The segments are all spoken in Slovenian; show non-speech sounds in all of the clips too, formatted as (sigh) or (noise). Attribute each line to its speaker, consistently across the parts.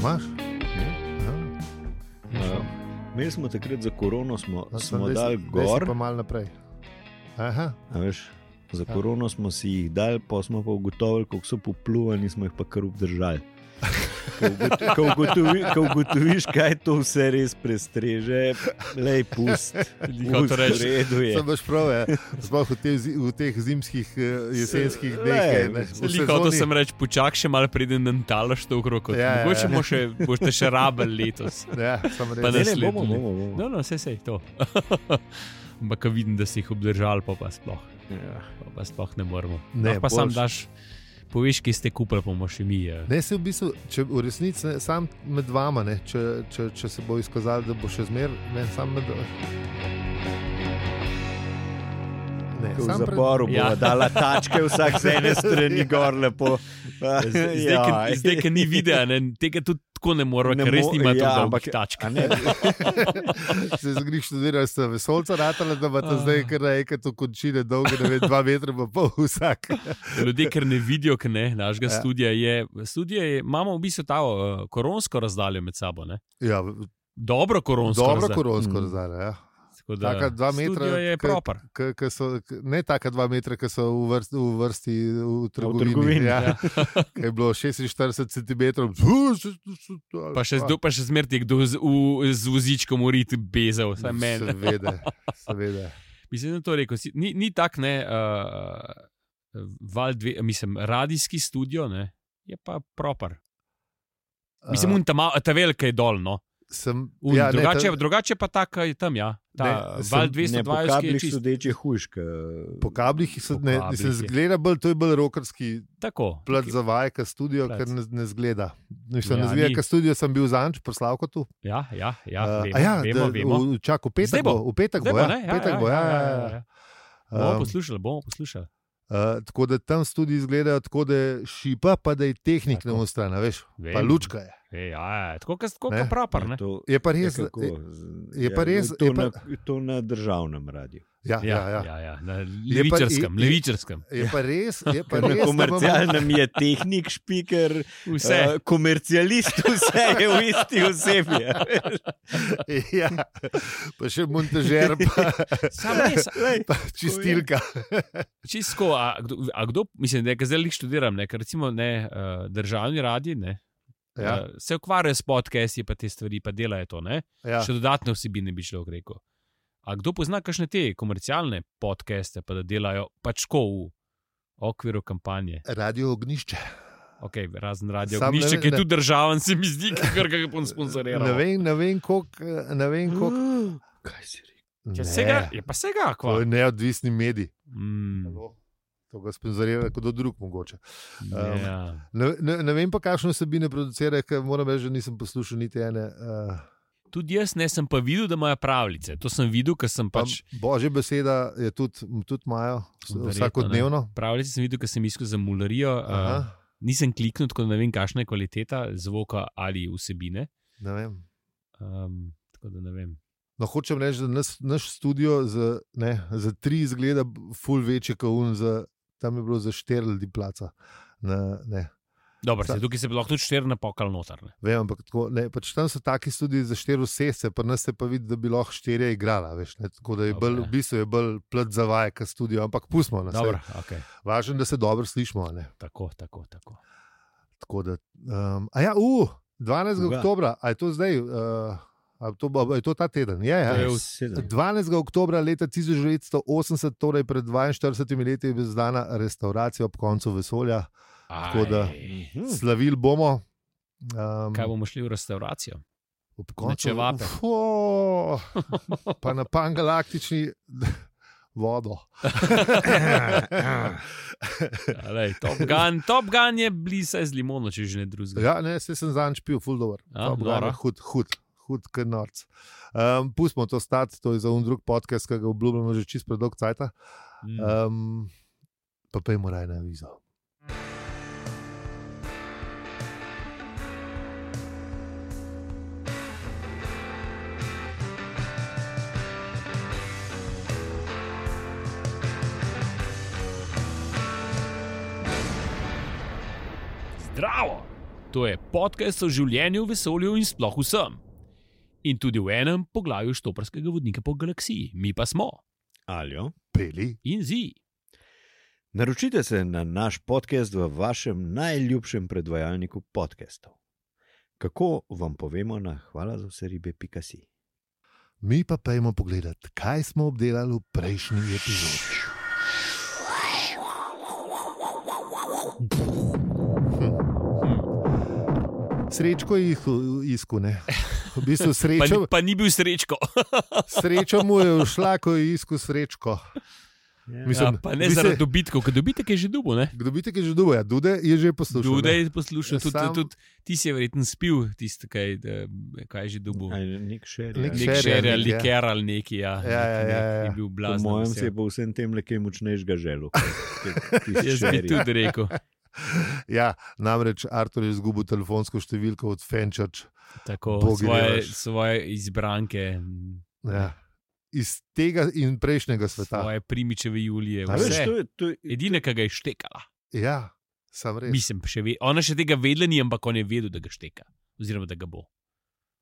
Speaker 1: Imaš?
Speaker 2: Ja. Imeli smo takrat za korono, smo,
Speaker 1: Ja.
Speaker 2: smo dali
Speaker 1: Pa
Speaker 2: gor.
Speaker 1: malo naprej. Aha,
Speaker 2: a Veš, za
Speaker 1: Ja.
Speaker 2: korono smo si jih dali, pa smo pa ugotovili, kako so popluvani, smo jih pa kar
Speaker 1: (laughs)
Speaker 2: obdržali. Ko ugoto- Ko ugotovi, ko ugotoviš, kaj to vse res prestreže, le pusti.
Speaker 3: Ni hotel reči.
Speaker 2: je.
Speaker 1: sem baš prav, je. sploh v, te, zi- v teh zimskih, eh, jesenskih
Speaker 2: Se-
Speaker 1: dneh. je,
Speaker 2: ne,
Speaker 1: ne. V
Speaker 3: Veliko to
Speaker 1: sezoni-
Speaker 3: sem reči, počakaj še malo, preden nantalaš to v roko.
Speaker 1: Ja, ja,
Speaker 3: Ja, Mogoče
Speaker 1: ja.
Speaker 3: ja. Še, boš še raben letos.
Speaker 1: (laughs) (laughs) Ja, sem
Speaker 3: Pa
Speaker 2: Ne,
Speaker 1: res.
Speaker 2: ne, bomo,
Speaker 3: naslednji.
Speaker 2: bomo, bomo.
Speaker 3: No, no, vse sej to. (laughs) Ampak ko vidim, da si jih obdržal, pa, pa sploh.
Speaker 2: Ja.
Speaker 3: Pa, pa sploh ne moremo.
Speaker 1: Ne,
Speaker 3: Ne, pa sam
Speaker 1: boljše.
Speaker 3: daš, poveš, ki ste kupili, bomo še mi. eh.
Speaker 1: Ne, se v bistvu, če v resnici ne, sam med vama, ne, če, če, če se bo izkazalo, da bo še zmeraj, ne, sam med vami. Ne,
Speaker 2: Ko V
Speaker 1: samo pred-
Speaker 2: zaporu bo
Speaker 3: Ja.
Speaker 2: (laughs) dala tačke, vsak z ene strani gor lepo. (laughs)
Speaker 1: Ja.
Speaker 3: Zdaj, zdaj,
Speaker 2: Jaj.
Speaker 3: ki- zdaj, ker ni videa, ne, tega tudi tako ne moremo,
Speaker 2: Ne
Speaker 3: ker res
Speaker 2: mo-
Speaker 3: nima
Speaker 2: ja,
Speaker 3: ja,
Speaker 2: ampak-
Speaker 3: tako tačk.
Speaker 2: A ne,
Speaker 1: (laughs) Se zgriš študirati, ste vesolca ratala, da bo
Speaker 3: Ah.
Speaker 1: ta zdaj kar naenkrat v končine dolge, ne vem, dva metra pa pol
Speaker 3: (laughs)
Speaker 1: vsak.
Speaker 3: Ljudje, ker ne vidijo, ker ne, našega
Speaker 1: Ja.
Speaker 3: ja. studia je. Studio je, imamo v bistvu ta uh, koronsko razdaljo med sabo. Ne?
Speaker 1: Ja,
Speaker 3: Dobro koronsko.
Speaker 1: dobro
Speaker 3: razdaljo.
Speaker 1: koronsko
Speaker 2: Mm.
Speaker 1: razdalje. Ja.
Speaker 3: Tako da
Speaker 1: Taka dva metra,
Speaker 3: studio Je
Speaker 1: ke-
Speaker 3: proper.
Speaker 1: K, k so, k, ne taka dva metra, ki so v vrsti v, vrsti, v trgovini.
Speaker 2: trgovini,
Speaker 1: ja. (laughs) Ke je bilo 46 cm.
Speaker 3: Pa še, zdo- pa še zmeraj je kdo z, v, z vozičkom urit
Speaker 1: (laughs)
Speaker 3: bezel, vsaj meni.
Speaker 1: Seveda, seveda.
Speaker 3: Mislim, da je to rekel. si- Ni, ni tak, ne, uh, val dve, mislim, radijski studio, ne, je pa proper. Mislim,
Speaker 1: A,
Speaker 3: un ta, ma, ta velika je dolno.
Speaker 1: sem,
Speaker 3: Ja, drugače,
Speaker 1: ta-
Speaker 3: ne, drugače pa ta, ki je tam, ja. Ta
Speaker 1: Ne, sem-
Speaker 3: val
Speaker 2: ne, po
Speaker 3: 220 je
Speaker 2: kablih
Speaker 3: čist.
Speaker 2: sodeč je hujš. ke-
Speaker 1: Po kablih so,
Speaker 3: Po
Speaker 1: ne,
Speaker 3: kablih
Speaker 1: se
Speaker 3: je.
Speaker 1: zgleda bolj, to je bolj rokarski
Speaker 3: Tako.
Speaker 1: plat za vaje, kot studio,
Speaker 3: Plac.
Speaker 1: ker ne, ne zgleda. Mislim,
Speaker 3: Ja,
Speaker 1: ne zgleda,
Speaker 3: ni.
Speaker 1: kot studio sem bil zanč, poslavko tu.
Speaker 3: Ja, ja, ja,
Speaker 1: A,
Speaker 3: vemo,
Speaker 1: a ja,
Speaker 3: vemo,
Speaker 1: da-
Speaker 3: vemo.
Speaker 1: v- Čakaj, v petek
Speaker 3: Zdaj bo.
Speaker 1: bo, v petek
Speaker 3: Zdaj
Speaker 1: bo,
Speaker 3: bo,
Speaker 1: ja,
Speaker 3: ne?
Speaker 1: v petek bo, ja, ja, ja.
Speaker 3: ja. Bomo
Speaker 1: Um,
Speaker 3: poslušali, bomo poslušali.
Speaker 1: Uh, tako da tam tudi izgledajo tako, da je šipa, pa da je tehnik
Speaker 3: Tako.
Speaker 1: na ostran, veš, pa
Speaker 3: Vem.
Speaker 1: lučka je.
Speaker 3: E, ja, ja, tako
Speaker 1: Ne,
Speaker 3: kot
Speaker 2: Ja,
Speaker 3: proper. Ne?
Speaker 2: to-
Speaker 1: Je pa
Speaker 2: ja,
Speaker 1: res,
Speaker 2: kako,
Speaker 1: je-
Speaker 2: z-
Speaker 1: je pa
Speaker 2: ja,
Speaker 1: res-
Speaker 2: To,
Speaker 1: je pa-
Speaker 2: na, to na državnem radiju.
Speaker 1: ja, ja, ja.
Speaker 3: ja, ja, na
Speaker 1: je-
Speaker 3: levičarskem,
Speaker 1: je-
Speaker 3: levičarskem.
Speaker 1: Je pa res, je
Speaker 3: (laughs)
Speaker 1: pa
Speaker 2: Na
Speaker 1: res.
Speaker 2: komercialnem je tehnik, špiker,
Speaker 3: Vse.
Speaker 2: eh, komercialist, vse je v isti osebi. a
Speaker 3: (laughs)
Speaker 2: veš.
Speaker 1: je. (laughs) Ja, pa še montažer,
Speaker 3: (laughs)
Speaker 1: pa,
Speaker 3: Ja. Sam res,
Speaker 2: Glej,
Speaker 1: pa čistilka.
Speaker 3: čisto, a kdo, a kdo, mislim, da je, ker zdaj jih študiram, ne, ker recimo ne, eh, državni radi ne,
Speaker 1: Ja,
Speaker 3: eh, se ukvarjajo s podcasti, pa te stvari, pa delajo to. Ne,
Speaker 1: ja.
Speaker 3: ja. Še dodatne vsebine bi šlo, rekel. A kdo pozna kakšne te komercialne podcaste, pa da delajo pač ko v okviru kampanje,
Speaker 1: Radio ognišče.
Speaker 3: okay, razen radio,
Speaker 1: Sam ne
Speaker 3: Gnišče,
Speaker 1: ve-
Speaker 3: ki je
Speaker 1: ne-
Speaker 3: tudi državen, se mi zdi, ker ga no. je
Speaker 1: (laughs)
Speaker 3: pon
Speaker 1: Ne
Speaker 3: sponsoriral.
Speaker 1: vem, ne vem, koliko. eh, Ne vem, koliko.
Speaker 2: Kaj si rekel?
Speaker 3: Ja,
Speaker 1: Ne,
Speaker 3: sega, je pa vsega,
Speaker 1: To
Speaker 3: kva.
Speaker 1: je neodvisni medij.
Speaker 3: Mm,
Speaker 1: To ga sponzorira kot drug, mogoče. Um,
Speaker 3: ja.
Speaker 1: Ne, ne, ne vem pa, kakšne vsebine producira, ker moram reči, da nisem poslušal niti ene. Uh,
Speaker 3: Tudi jaz ne sem pa videl, da imajo pravljice. To sem videl, ker sem
Speaker 1: Pa,
Speaker 3: pač.
Speaker 1: božje beseda je tudi, tudi imajo, vs-
Speaker 3: Verjetno,
Speaker 1: vsakodnevno.
Speaker 3: Pravljice sem videl, ker sem iskal za mularijo.
Speaker 1: Aha,
Speaker 3: Uh, nisem kliknil, tako da ne vem, kakšna je kvaliteta zvoka ali vsebine.
Speaker 1: ne vem.
Speaker 3: Um, tako da ne vem.
Speaker 1: No, hočem reči, da nas, naš studio za, ne, za tri izgleda ful večji kot un, za, tam je bilo za štiri ljudi placa. Na, ne,
Speaker 3: Dobro,
Speaker 1: Sa-
Speaker 3: se, tukaj se bi lahko tudi štirje napokal noter. Ne?
Speaker 1: vem, ampak tako, ne, pač tam so taki studii za štiri vsese, pa nas se pa vidi, da bi lahko štirje igrala. Veš, ne, tako da je
Speaker 3: Dobro,
Speaker 1: bolj,
Speaker 3: ja.
Speaker 1: v bistvu je bolj plat za vaje, kot studio, ampak pustimo nas.
Speaker 3: Dobro, okay.
Speaker 1: Važno, je, da se dobro slišimo. a Ne,
Speaker 3: Tako, tako, tako.
Speaker 1: tako da, um, a ja, uh, 12.
Speaker 2: Koga?
Speaker 1: oktober, a je to zdaj, uh, a, je to, bo- a je to ta teden? Je,
Speaker 3: To
Speaker 2: Ja,
Speaker 1: je.
Speaker 3: je v-
Speaker 2: sedem.
Speaker 1: 12. oktober leta 1980, torej pred 42 leti, je bila znana restauracija ob koncu vesolja. Tako da-
Speaker 3: Aj,
Speaker 2: Mhm.
Speaker 1: Slavili bomo. Um,
Speaker 3: Hm. Kaj bomo šli v restauracijo?
Speaker 1: ob
Speaker 3: Na čevape.
Speaker 1: Ufo, pa na pangalaktični (laughs)
Speaker 3: (laughs)
Speaker 1: vodo.
Speaker 3: Alej, top, gun, top Gun je blizu z limono, če že ne drugega.
Speaker 1: ja, ne, se sem zanč pil, full dobro.
Speaker 3: A, nora.
Speaker 1: Hud, hud. Hud, kot norc. Um, Pustmo to stati, to je za un drug podcast, ki ga obljubljamo že čist predolg cajt.
Speaker 3: Mm.
Speaker 1: Um, pa pojmo raje na vizo.
Speaker 3: Zdravo! To je podcast o življenju, vesolju in sploh vsem. In tudi v enem poglavju štoprskega vodnika po galaksiji, mi pa smo
Speaker 2: (laughs) Aljo.
Speaker 1: Peli.
Speaker 3: in zi.
Speaker 2: Naročite se na naš podcast v vašem najljubšem predvajalniku podcastov. Kako vam povemo na hvala za vse ribe.si.
Speaker 1: Mi pa pojmo pogledat, kaj smo obdelali v prejšnji epizodi. Srečko je iskal- iskal, ne. V bistvu
Speaker 3: Pa, ni-
Speaker 1: srečo,
Speaker 3: (laughs) pa ni bil srečko.
Speaker 1: srečo mu je ušla, ko je iskal srečko.
Speaker 3: Ja,
Speaker 1: (laughs) Mislim,
Speaker 3: pa ne
Speaker 1: vi se-
Speaker 3: zaradi dobitkov, ker dobitek je že dubo. Ne?
Speaker 1: Kdo bi tega že duboja? Dude je že poslušal.
Speaker 3: Duda
Speaker 1: ne? Ja,
Speaker 3: je poslušal, tudi,
Speaker 1: Sam-
Speaker 3: tudi, tudi ti si je verjetno spil, tisti, kaj, eh, kaj je že dubo.
Speaker 2: Nek še
Speaker 1: Nek
Speaker 3: Nek
Speaker 1: Šerja,
Speaker 3: šerja,
Speaker 1: nek, ja.
Speaker 3: liker ali neki. Ja,
Speaker 1: Ja, ja,
Speaker 3: neki,
Speaker 1: ja,
Speaker 3: neki
Speaker 1: ja.
Speaker 3: Ni bil
Speaker 2: Po
Speaker 3: blazen.
Speaker 2: mojem
Speaker 3: vse.
Speaker 2: se je po vsem tem le kaj močnejšega želel.
Speaker 3: (laughs)
Speaker 2: kot tisti
Speaker 3: Jaz bi
Speaker 2: šeri.
Speaker 3: tudi
Speaker 1: (laughs)
Speaker 3: rekel.
Speaker 1: Ja, namreč Artur je izgubil telefonsko številko od Fenčač.
Speaker 3: Tako,
Speaker 1: Bogi
Speaker 3: svoje,
Speaker 1: revež.
Speaker 3: svoje izbranke,
Speaker 1: Ja. Iz tega in prejšnjega sveta.
Speaker 3: svoje primičeve Julije.
Speaker 1: A
Speaker 2: A veš,
Speaker 3: Vse.
Speaker 2: to je, to je,
Speaker 3: Edina, ki ga je štekala.
Speaker 1: Ja, sam res.
Speaker 3: Mislim, še ve, ona še tega vedela ni, ampak on je vedel, da ga šteka. Oziroma, da ga bo.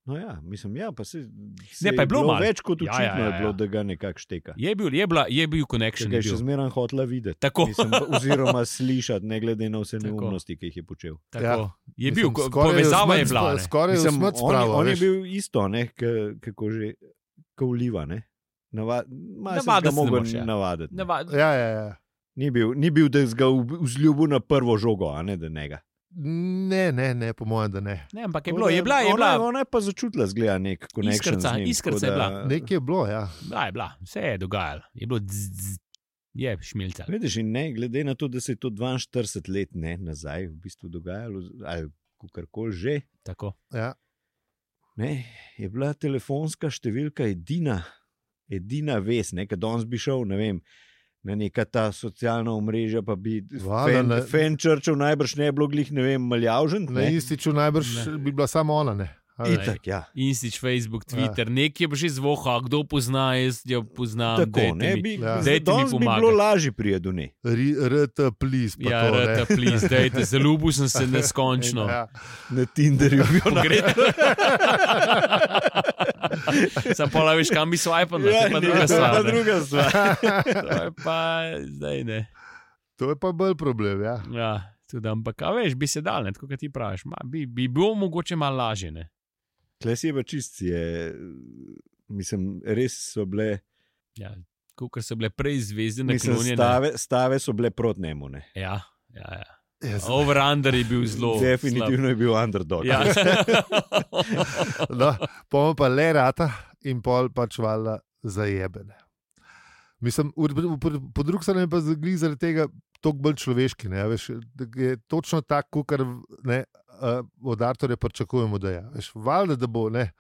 Speaker 2: no ja, mislim, ja, pa se, se
Speaker 3: Ne, pa je bilo malo.
Speaker 2: več kot
Speaker 3: Ja, ja,
Speaker 2: očitno, ja, ja, ja.
Speaker 3: ja,
Speaker 2: je bilo,
Speaker 3: ja.
Speaker 2: da ga nekako šteka.
Speaker 3: Je bil, je bila, je bil
Speaker 2: Če
Speaker 3: connection.
Speaker 2: ga
Speaker 3: Je
Speaker 2: je še
Speaker 3: bil.
Speaker 2: zmeraj hotla
Speaker 3: (laughs)
Speaker 2: videti.
Speaker 3: Tako,
Speaker 2: Mislim, oziroma slišati, ne glede na vse
Speaker 3: Tako.
Speaker 2: neumnosti, ki jih je počel.
Speaker 3: tako. Je
Speaker 1: Mislim,
Speaker 3: bil, ko-
Speaker 1: skoraj jo
Speaker 3: povezava je
Speaker 1: smrt
Speaker 3: bila.
Speaker 1: spo-
Speaker 3: ne.
Speaker 1: Skoraj sem Torej,
Speaker 2: Mislim,
Speaker 1: smrt
Speaker 2: on, je-
Speaker 1: spravil.
Speaker 2: on je bil isto, ne, k, kako že, kot uliva. Ne. Nava, malo sem
Speaker 3: Navaditi
Speaker 2: ga
Speaker 3: se ne
Speaker 2: mogel
Speaker 3: moreš, ja.
Speaker 2: navaditi. ne.
Speaker 3: Navad-
Speaker 1: Ja, ja, ja.
Speaker 2: Ni bil, ni bil, da si ga v- vzljubil na prvo žogo, a ne da njega.
Speaker 1: Ne, ne, ne, po mojem, da ne.
Speaker 3: Ne, ampak je
Speaker 2: Tako
Speaker 3: bilo,
Speaker 2: da
Speaker 3: je bila, je
Speaker 2: ona,
Speaker 3: bila.
Speaker 2: Ona je pa začutila, zgleda nek konekšnja.
Speaker 3: Iskrca, iskrca je bila.
Speaker 1: Nekaj je bilo, ja.
Speaker 3: Da, je bila, vse je dogajalo, je bilo, dzz, dzz. je šmilca.
Speaker 2: Vidiš, in ne, glede na to, da se je to 42 let ne, nazaj v bistvu dogajalo, ali kako koli že,
Speaker 3: Tako.
Speaker 1: ja.
Speaker 2: ne, je bila telefonska številka edina, edina vez, ne, kad danes bi šel, ne vem. Na neka ta socialna omrežja, pa bi
Speaker 1: Valjda ne-
Speaker 2: Fenčerčev najbrž ne bi bilo glih, ne vem, maljavžen.
Speaker 1: Na ističu najbrž
Speaker 3: Ne.
Speaker 1: bi bila samo ona. Ne. A ne?
Speaker 2: Itak, ja.
Speaker 3: Instič, Facebook, Twitter, nek je pa že zvoha, kdo pozna, jaz jo poznam.
Speaker 2: Tako,
Speaker 3: dajte
Speaker 2: ne
Speaker 3: mi-
Speaker 2: bi,
Speaker 1: Ja.
Speaker 2: ja.
Speaker 3: Dajte mi
Speaker 2: danes bi bilo
Speaker 3: pomagati.
Speaker 2: lažje prije do nje.
Speaker 1: Ri- RT, plis.
Speaker 3: Ja, rata, plis, dajte, zaljubil sem se neskončno.
Speaker 1: Ja.
Speaker 2: Na Tinderju bi bilo
Speaker 3: Sam pa veš, kam bi swipal, to je pa
Speaker 2: To je
Speaker 3: druga stvar.
Speaker 2: Ja, pa
Speaker 3: Ja, ne.
Speaker 2: druga stvar.
Speaker 3: To je pa zdaj ne.
Speaker 1: To je pa bolj problem. Ja.
Speaker 3: Ja, tudi, ampak, a veš, bi se dal, ne, tako kot ti praviš. Ma, bi, bi bilo mogoče malo lažje. Ne?
Speaker 2: Klej si je pa čist, je, mislim, res so bile,
Speaker 3: Ja, Ker so bile prej zvezde
Speaker 2: mislim,
Speaker 3: naklonjene.
Speaker 2: stave, stave so bile proti njemu. Ne.
Speaker 3: Ja, ja, ja.
Speaker 1: Jaz,
Speaker 3: Over-under je bil zelo. slab.
Speaker 2: Definitivno je bil underdog.
Speaker 1: (laughs)
Speaker 3: Ja.
Speaker 1: no, Pomo pa le rata in pol pač vala zajebene. Mislim, v- v- v- po drugi strani je pa zgli zaradi tega toliko bolj človeški. Ne, a veš, da je točno tako, kar ne, eh, od Artorja pričakujemo, da je. a Veš, valjda, da bo. Ne,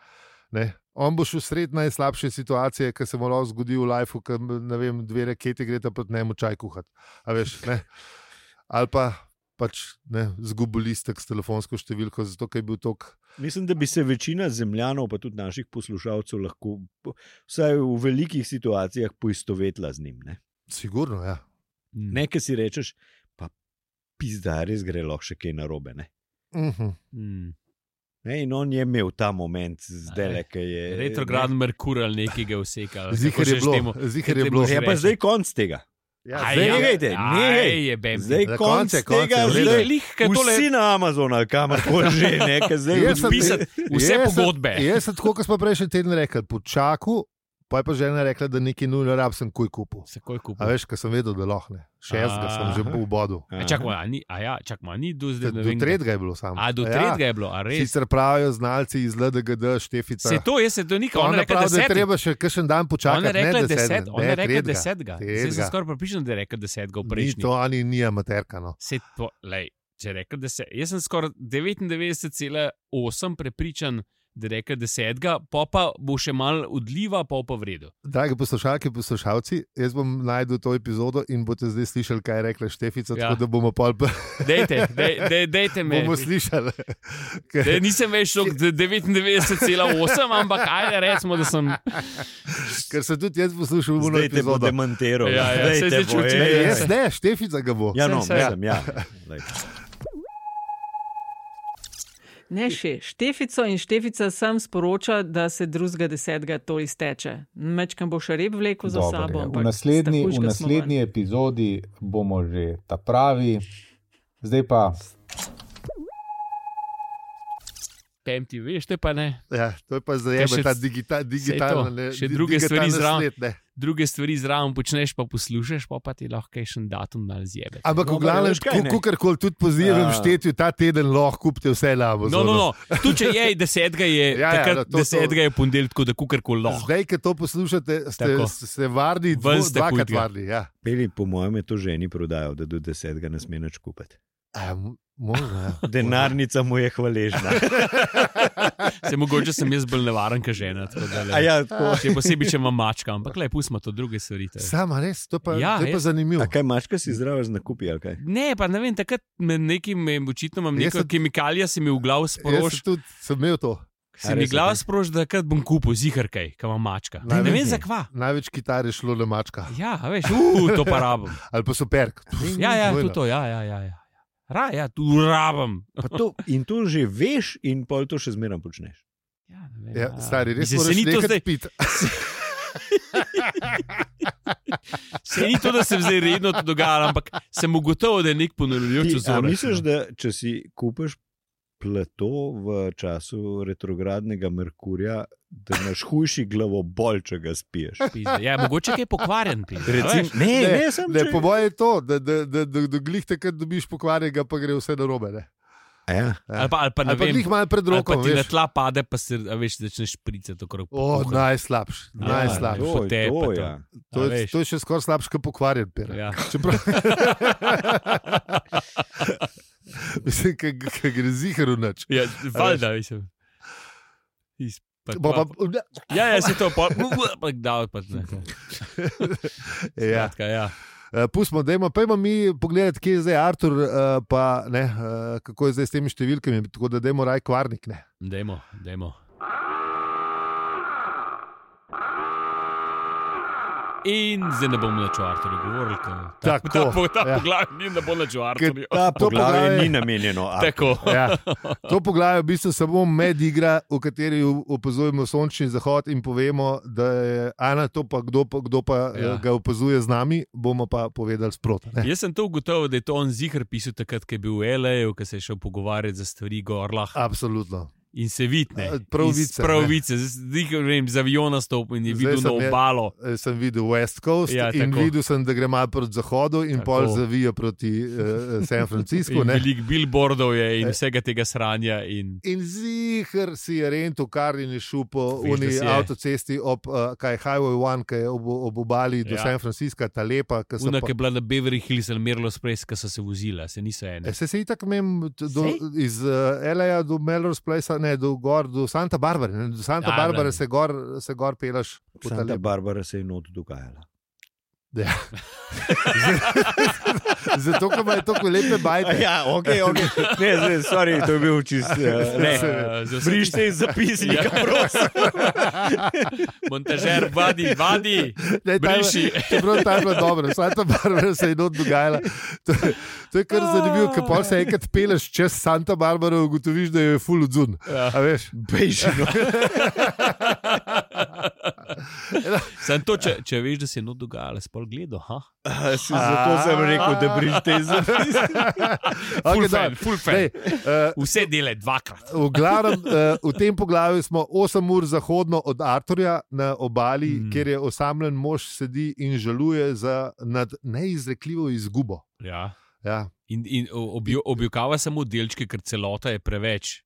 Speaker 1: ne. On bo šel sred najslabše situacije, ki se mu lahko zgodi v lifeu, ko ne vem, dve raketi greta proti njemu čaj kuhati. A Veš, ne. Ali pa pač ne, zgubil listek s telefonsko številko, zato ker je bil tako
Speaker 2: (laughs) Mislim, da bi se večina zemljanov, pa tudi naših poslušalcev, lahko po- vsaj v velikih situacijah poistovetila z njim. Ne,
Speaker 1: Sigurno, ja.
Speaker 2: ne ki si rečeš, pa pizda, res gre lahko še kaj narobe. Ne?
Speaker 1: Uh -huh.
Speaker 3: Mm.
Speaker 2: Ne, in on je imel ta moment, zdaj le, ki je.
Speaker 3: Retrograden Merkur ali nekaj ga vseka.
Speaker 1: Zihar je bilo. Zihar je
Speaker 3: Torej, temu
Speaker 1: bilo.
Speaker 2: Ne, je pa
Speaker 3: reči.
Speaker 2: zdaj konec tega.
Speaker 1: Ja,
Speaker 2: Aj,
Speaker 1: zdaj-
Speaker 2: ja. nehajte, nehaj.
Speaker 3: je bem.
Speaker 2: Zdaj
Speaker 1: Na
Speaker 2: je
Speaker 1: koncu
Speaker 2: konec
Speaker 1: je konec,
Speaker 2: tega,
Speaker 1: je v redu.
Speaker 2: zdaj
Speaker 3: Lih, kaj tole Ja,
Speaker 2: Vsi na Amazonu, ali kamor koli že,
Speaker 3: (laughs)
Speaker 2: ne, ker zdaj
Speaker 1: Jaz sem-
Speaker 3: pisati vse
Speaker 1: Jaz sem-
Speaker 3: pogodbe.
Speaker 1: Jaz sem tako, kot smo prejšnji teden rekli, počakal, pa je pa žena rekla, da neki nujno rab sem kuj kupil.
Speaker 3: Se kaj
Speaker 1: A
Speaker 3: kupuje.
Speaker 1: veš, ker sem vedel, da lahko ne. Šestega sem že
Speaker 2: Aha.
Speaker 1: v bodu.
Speaker 3: A čakaj, a ni, a ja, čakaj, a ni do zdaj.
Speaker 1: Do tretjega je bilo samo.
Speaker 3: A do
Speaker 1: Ja.
Speaker 3: tretjega je bilo, a res.
Speaker 1: Sicer pravijo znalci iz LDGD, Štefica.
Speaker 3: Se to, jaz se to nikam
Speaker 1: Ona
Speaker 3: ne
Speaker 1: pravi, da je
Speaker 3: rečem.
Speaker 1: treba še kakšen dan
Speaker 3: Ona
Speaker 1: počakati.
Speaker 3: je rekla
Speaker 1: ne desetega,
Speaker 3: deset, ona
Speaker 1: ne,
Speaker 3: je rekla
Speaker 1: tretjega.
Speaker 3: desetega. Zdaj
Speaker 1: Tretjega.
Speaker 3: sem skoraj pripričan, da je rekla desetega v
Speaker 1: Ni
Speaker 3: prejšnji.
Speaker 1: to ani ni amaterka. No.
Speaker 3: Se to, lej, če rekel, da se. Jaz sem skoraj 99,8 prepričan, da rekel 10, pa pa bo še mal odliva, pa bo pa v redu.
Speaker 1: Dragi poslušalke, poslušalci, jaz bom najdel to epizodo in boste zdaj slišali, kaj je rekla Štefica,
Speaker 3: Ja.
Speaker 1: ja. tako da bomo pol
Speaker 3: Dejte, dej, dej, dejte me.
Speaker 1: bomo slišali. Ker-
Speaker 3: Dej, nisem več šel 99,8, ampak ajde, recimo, da sem.
Speaker 1: Ker sem tudi jaz poslušal v
Speaker 2: Zdaj te bo
Speaker 1: epizodo.
Speaker 2: demantiral.
Speaker 3: Ja, ja,
Speaker 2: zdaj
Speaker 3: saj
Speaker 2: te
Speaker 3: se
Speaker 2: bo,
Speaker 3: čutim,
Speaker 2: ej,
Speaker 1: Ne,
Speaker 3: ja,
Speaker 2: ej.
Speaker 1: jaz ne, Štefica ga bo.
Speaker 2: no, Ja, no,
Speaker 3: Saj, saj.
Speaker 2: mislim, ja. Lej.
Speaker 4: Ne še, Štefico in Štefica sam sporoča, da se drugega desetega to izteče. Mečkam bo še rep vleko za
Speaker 5: Dobro
Speaker 4: sabo.
Speaker 5: je.
Speaker 4: ampak
Speaker 5: V naslednji,
Speaker 4: stakuška
Speaker 5: v
Speaker 4: smo
Speaker 5: naslednji epizodi bomo že ta pravi, zdaj pa
Speaker 3: Temti, veš, te pa ne.
Speaker 1: Ja, to je pa zdaj
Speaker 3: Kaj še-
Speaker 1: ta digita, digitalna
Speaker 3: to,
Speaker 1: ne,
Speaker 3: še
Speaker 1: di-
Speaker 3: druge stvari
Speaker 1: digitalna
Speaker 3: zraven.
Speaker 1: svet, ne.
Speaker 3: Druge stvari zraven počneš, pa poslušaš, pa, pa ti lahko še en datum nal zjebe.
Speaker 1: Ampak v
Speaker 2: Dobro,
Speaker 1: glavnem,
Speaker 2: No, veš kaj, ne?
Speaker 1: kako koli tudi pozivam
Speaker 2: Ja.
Speaker 1: štetju, ta teden lahko kupite vse lavo.
Speaker 3: No, no, no. Tu če je, desetega je,
Speaker 1: (laughs) Ja,
Speaker 3: ja,
Speaker 1: ja,
Speaker 3: ja,
Speaker 1: no, to- to-
Speaker 3: desetega je ponedeljek, tako da kukar kolo.
Speaker 1: Zdaj, ko to poslušate, ste,
Speaker 3: Tako.
Speaker 1: ste varni,
Speaker 3: no. Ven
Speaker 1: dvo,
Speaker 3: ste
Speaker 1: dvakrat
Speaker 3: hudega.
Speaker 1: varni. Ja.
Speaker 2: Peli, po mojem, je to ženi prodajal, da do desetega ne sme več kupiti.
Speaker 1: A, m- možno, ja.
Speaker 2: Denarnica mu je hvaležna.
Speaker 3: (laughs) Se mogoče sem jaz bolj nevaren, kot žena. tako da,
Speaker 2: A
Speaker 3: le.
Speaker 2: ja,
Speaker 5: Ah.
Speaker 2: tako.
Speaker 3: Še posebej, če ima mačka, ampak le pustimo to druge stvari. to je.
Speaker 1: Sama res, to pa,
Speaker 3: Ja,
Speaker 1: ja, to je pa
Speaker 3: jaz-
Speaker 1: zanimivo.
Speaker 2: A kaj mačka si zdraviš na kupi ali kaj?
Speaker 3: Ne, pa ne vem, takrat me nekim em, očitno imam
Speaker 1: Jaz
Speaker 3: neko
Speaker 1: sem-
Speaker 3: kemikalija, se mi v glavu
Speaker 1: Jaz sem
Speaker 3: sproži.
Speaker 1: tudi sem imel to.
Speaker 3: Se
Speaker 2: A
Speaker 3: mi
Speaker 2: res,
Speaker 3: glava
Speaker 2: okej.
Speaker 3: sproži, da takrat bom kupil ziharkaj, kam ima mačka. Ne, ne vem
Speaker 1: Najverjetneje.
Speaker 3: zakva.
Speaker 1: Največ kitar je šlo na mačka
Speaker 3: Ja, a veš, uh, to pa rabim.
Speaker 1: ali pa superk.
Speaker 3: Ja, ja,
Speaker 1: Vojno.
Speaker 3: tudi to, ja, ja, ja. ja. Ra, ja, tu rabim.
Speaker 2: Pa To, in to že veš, in pol to še zmeraj počneš.
Speaker 3: Ja, ne vem,
Speaker 1: Ja,
Speaker 3: ja.
Speaker 1: stari, res
Speaker 3: Mislim, se
Speaker 1: moraš
Speaker 3: ni to
Speaker 1: nekaj
Speaker 3: zdaj-
Speaker 1: piti.
Speaker 3: Se ni to, da se zdaj redno to dogaja, ampak sem ugotovil, da je nek ponavljajoč
Speaker 2: Ti, a
Speaker 3: vzorec.
Speaker 2: misliš, da če si kupiš plato v času retrogradnega Merkurja, da imaš hujši glavobol, če ga spiješ?
Speaker 3: (laughs) Pizda. Ja, mogoče je pokvarjen. Pizda,
Speaker 2: Recim,
Speaker 3: veš.
Speaker 2: ne, ne,
Speaker 1: Ne,
Speaker 2: ne, sem
Speaker 1: Ne,
Speaker 2: če-
Speaker 1: po mojem je to, da, da, da, da, da glih takrat dobiš pokvarjenega, pa gre vse na robe. Ne?
Speaker 2: A Ja,
Speaker 3: ali pa, ali pa ne
Speaker 1: Ali pa
Speaker 3: vem.
Speaker 1: glih malo pred
Speaker 3: ali pa
Speaker 1: rokom.
Speaker 3: ti na
Speaker 1: veš.
Speaker 3: tla pade, pa se a veš, začneš špricati okrog. po
Speaker 1: O,
Speaker 3: kuhinji.
Speaker 1: najslabši,
Speaker 3: Ja,
Speaker 1: najslabši.
Speaker 2: to je
Speaker 3: Potepa
Speaker 2: to,
Speaker 3: to.
Speaker 2: ja.
Speaker 1: To,
Speaker 3: A
Speaker 1: je-
Speaker 3: veš.
Speaker 1: to je še skoraj slabše, kot pokvarjen pir.
Speaker 3: Ja.
Speaker 1: Čeprav... (laughs) Mislim, da gre zihar v noč.
Speaker 3: Ja, valjda, mislim. Iz- pa-
Speaker 1: Pa,
Speaker 3: pa-
Speaker 1: pa,
Speaker 3: Ja, ja, se to pa, pa da, pa ne.
Speaker 1: ja.
Speaker 3: Skratka, ja.
Speaker 1: Eh, Pustimo, da imamo, pa imamo mi pogled, kje je zdaj Artur, eh, pa ne, eh, kako je zdaj s temi številkami. Tako da dajmo raj kvarnik. Ne.
Speaker 3: Dajmo, dajmo. In zdaj ne bom več o Arturju govoril. ker Ta,
Speaker 1: Tako,
Speaker 3: ta, po- ta
Speaker 1: ja.
Speaker 3: ja. poglavje ni, da bo več o Arturju.
Speaker 2: Ta
Speaker 1: To poglavje-
Speaker 2: poglavje ni namenjeno. a-
Speaker 3: Tako.
Speaker 1: (laughs) Ja. To poglavje je v bistvu samo medigra, v kateri u- opazujemo sončni zahod in povemo, da je Ana to, pa kdo pa, kdo pa ja.
Speaker 3: Ja.
Speaker 1: ga opazuje z nami, bomo pa povedali sproti. ne.
Speaker 3: Jaz sem to ugotovil, da je to on zihar pisal takrat, ko je bil v L.A.U., ko se je šel pogovarjati za stvari gorlah
Speaker 1: Absolutno.
Speaker 3: in se vidne.
Speaker 1: A, prav vice, ne.
Speaker 3: Pravice, zdaj ne vem, z aviona stopil in je
Speaker 1: Zdaj
Speaker 3: videl na
Speaker 1: sem je-
Speaker 3: obalo.
Speaker 1: Eh, Sem videl West Coast ja,
Speaker 3: Ja,
Speaker 1: in
Speaker 3: tako.
Speaker 1: videl sem, da gre malo proti zahodu in
Speaker 3: Tako.
Speaker 1: pol zavijo proti uh, San Franciscu.
Speaker 3: In
Speaker 1: ne. E.
Speaker 3: Veliko billboardov je in vsega tega sranja. In...
Speaker 1: In zihar si je rentil, kar je šupo v
Speaker 3: Veš, da
Speaker 1: uni
Speaker 3: si je.
Speaker 1: avtocesti ob uh, kaj, Highway 1, ki je ob, ob obali do ja.
Speaker 3: Ja.
Speaker 1: San Francisca, ta lepa. ki so
Speaker 3: Una,
Speaker 1: Ja, pa-
Speaker 3: ki je bila na Beverly Hills ali Merlo Sprays, ki so se vozila, se niso ene.
Speaker 1: E, Se, se itak mem t- do,
Speaker 3: Sej?
Speaker 1: iz uh, L.A. do Melrose Place, ne do, gor, do Santa Barbare. Ne, do Santa
Speaker 3: Ja,
Speaker 1: Barbare
Speaker 3: ne.
Speaker 1: se gor, se gor pelaš. v ta
Speaker 2: Santa
Speaker 1: lep- (laughs)
Speaker 2: Barbara se je not dogajala.
Speaker 1: Ja. Zato, ker imajo tako lepe bajte.
Speaker 2: Ja, ok, ok. Ne, zdaj, sorry, to je bil čist. eh, Ne,
Speaker 3: Eh, za vse
Speaker 2: brište iz zapisnika,
Speaker 3: Ja.
Speaker 2: prosim.
Speaker 3: (laughs) Montažer, vadi, vadi.
Speaker 1: Ne, ta je bila-
Speaker 3: Briši.
Speaker 1: Čeprav ta je bila dobra, Santa Barbara se je not dogajala. To, je- to je kar zanimivo, ker pa se enkrat peleš čez Santa Barbaro in ugotoviš, da jo je full odzun.
Speaker 3: Ja.
Speaker 1: A veš?
Speaker 2: Bejšino.
Speaker 3: Sam to, če, če veš, da se je not dogajalo, spol gledal. ha?
Speaker 2: Zato sem rekel, da brište iz
Speaker 3: (laughs)
Speaker 2: zapisnika.
Speaker 3: Full
Speaker 1: Okej,
Speaker 3: fan,
Speaker 1: dobro.
Speaker 3: full fan.
Speaker 1: Dej, eh,
Speaker 3: Vse dele dvakrat.
Speaker 1: V, glavnem, eh, v tem poglavju smo 8 ur zahodno od Arturja na obali, mm.
Speaker 3: Mm.
Speaker 1: kjer je osamljen mož sedi in žaluje za, nad neizrekljivo izgubo.
Speaker 3: Ja.
Speaker 1: Ja.
Speaker 3: In, in objo, objokava samo delčke, ker celota je preveč,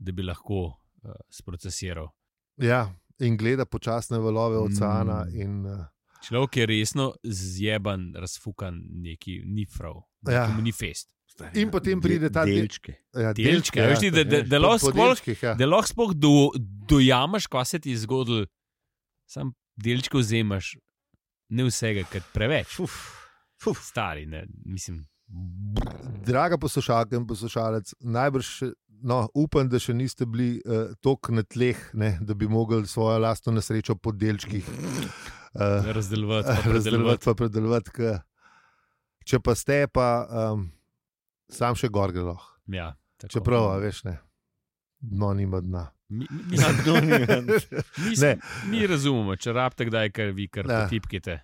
Speaker 3: da bi lahko uh, sprocesiral.
Speaker 1: Ja. In gleda počasne valove oceana.
Speaker 2: Mm.
Speaker 1: In, eh,
Speaker 3: Človek je resno zjeban, razfukan, neki ni prav,
Speaker 1: Ja.
Speaker 3: ja. ni fest.
Speaker 1: In potem pride ta del-
Speaker 2: delčke.
Speaker 1: ja,
Speaker 3: Delčke, a veš ti, da- da- da
Speaker 1: Po- po
Speaker 3: lahko skvol-
Speaker 1: delčkih, ja.
Speaker 3: Da lahko sploh do, dojamaš, kaj se ti je zgodilo, sam delčke vzemaš, ne vsega, ker preveč.
Speaker 2: Fuf, fuf.
Speaker 3: Stari, ne, mislim.
Speaker 1: Draga poslušalka in poslušalec, najbrž še- no, upam, da še niste bili uh, tako na tleh, ne, da bi mogli svojo lastno nesrečo po delčkih uh,
Speaker 3: Razdelovati, pa
Speaker 1: razdelovati,
Speaker 3: predelovati.
Speaker 1: pa predelovati. K, če pa ste, pa um, sam še gor gre. lahko.
Speaker 3: Ja, tako.
Speaker 1: Čeprav, a veš, ne. dno nima dna.
Speaker 3: Mi, mi,
Speaker 2: Na
Speaker 3: mislim,
Speaker 2: dnu Ja, No, ni-
Speaker 3: mi,
Speaker 1: Ne.
Speaker 3: ne. mi razumemo, če rabite kdaj, kar vi kar
Speaker 1: Ja.
Speaker 3: tipkite.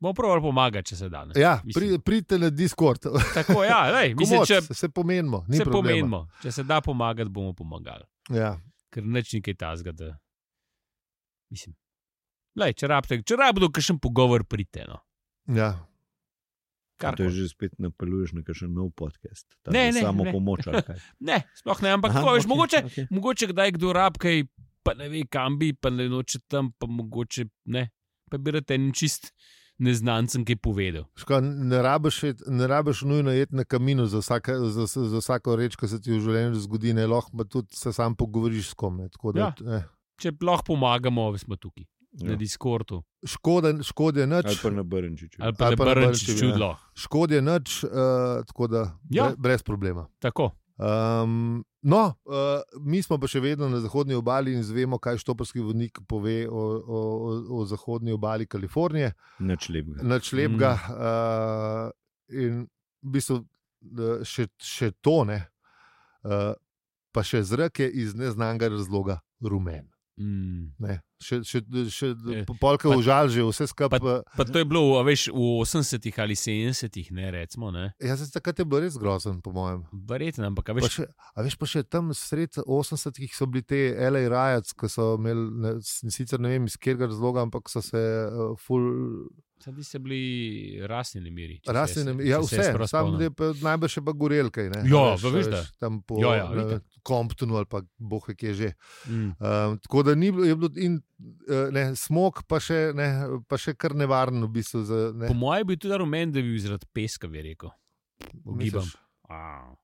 Speaker 3: Bomo pravili pomagati, če se da. ne.
Speaker 1: Ja,
Speaker 3: Mislim,
Speaker 1: pri, pridite na Discord,
Speaker 3: Tako, ja, lej, mislim,
Speaker 1: Komoc,
Speaker 3: če
Speaker 1: se pomenimo. ni
Speaker 3: se
Speaker 1: problema.
Speaker 3: pomenimo, če se da pomagati, bomo pomagali.
Speaker 1: Ja.
Speaker 3: Ker neč nekaj tazga, da. Mislim. Lej, če rabite, če rabite, kakšen pogovor pridite. No.
Speaker 1: Ja.
Speaker 2: To je
Speaker 3: Karkoli.
Speaker 2: že spet napeluješ na kakšen nov podcast. Ta
Speaker 3: Ne,
Speaker 2: je
Speaker 3: ne,
Speaker 2: samo
Speaker 3: ne.
Speaker 2: pomoč. ali kaj?
Speaker 3: Ne, sploh ne, ampak
Speaker 2: Aha,
Speaker 3: tako, veš,
Speaker 2: okej,
Speaker 3: mogoče,
Speaker 2: okej.
Speaker 3: mogoče kdaj kdo rab kaj, pa ne ve, kam bi, pa ne noče tam, pa mogoče ne. Pa bi rad en čist neznancem kaj povedal.
Speaker 1: Škoda, ne rabiš, jet- ne rabiš nujno jeti na kaminu za, vsaka, za, za za vsako reč, ki se ti v življenju zgodi, ne lahko pa tudi se sam pogovoriš s kom. Ne, tako da, eh,
Speaker 3: Če lahko pomagamo, smo tukaj, ja. na Discordu.
Speaker 1: škoda, škode je
Speaker 2: Ali
Speaker 1: nič,
Speaker 2: pa na Brnčiču.
Speaker 3: Pač- Ali
Speaker 1: Ali
Speaker 3: pa,
Speaker 1: pa na
Speaker 3: pa na
Speaker 1: Brnčiču,
Speaker 3: Brnčiču
Speaker 1: ja.
Speaker 3: čudlo.
Speaker 1: škode je nič uh, tako da
Speaker 3: Ja.
Speaker 1: bre, brez problema.
Speaker 3: Tako.
Speaker 1: Um, no, uh, mi smo pa še vedno na zahodni obali in vemo, kaj štoparski vodnik pove o, o, o- o zahodni obali Kalifornije.
Speaker 2: Nič lepega.
Speaker 1: Nač lepega. Mm. Uh, in v bistvu eh, še, še to ne, uh, pa še zrak je iz neznanega razloga rumen.
Speaker 3: Mm.
Speaker 1: Ne. Še, še, še
Speaker 3: Eh,
Speaker 1: polka
Speaker 3: pa-
Speaker 1: užal, že vse skupaj. eh,
Speaker 3: Pa to je bilo, a veš, v 80-ih ali 70-ih, ne recimo. Ne?
Speaker 1: Ja, se takrat je bilo res grozen, po mojem.
Speaker 3: Verjetno, ampak a
Speaker 1: Pa
Speaker 3: veš,
Speaker 1: še, a veš, pa še tam sred 80-ih so bili ti L.A. Riots, ki so imeli, ne, s- sicer ne vem iz katerega razloga, ampak so se uh, ful
Speaker 3: Sad so bili rasni nemiri. če se
Speaker 1: rasli.
Speaker 3: jaz-
Speaker 1: ne-
Speaker 3: če
Speaker 1: Ja,
Speaker 3: se jaz
Speaker 1: vse,
Speaker 3: prav
Speaker 1: sam
Speaker 3: spomnim.
Speaker 1: je pa najbrž še pa gorelke. Ne,
Speaker 3: Ja,
Speaker 1: a
Speaker 3: pa veš,
Speaker 1: a
Speaker 3: da.
Speaker 1: Tam po
Speaker 3: Ja, ja,
Speaker 1: na
Speaker 3: itak.
Speaker 1: Comptonu ali pa bohe, ki je že.
Speaker 3: Mm.
Speaker 1: Um, tako da ni bilo, je bilo in eh, ne, smog, pa še, ne, pa še kar nevaren, v bistvu. Za, ne,
Speaker 3: Po mojem bi tudi rumen, da bi bil zaradi peska, bi rekel. Ugibam.
Speaker 1: misliš,
Speaker 3: A,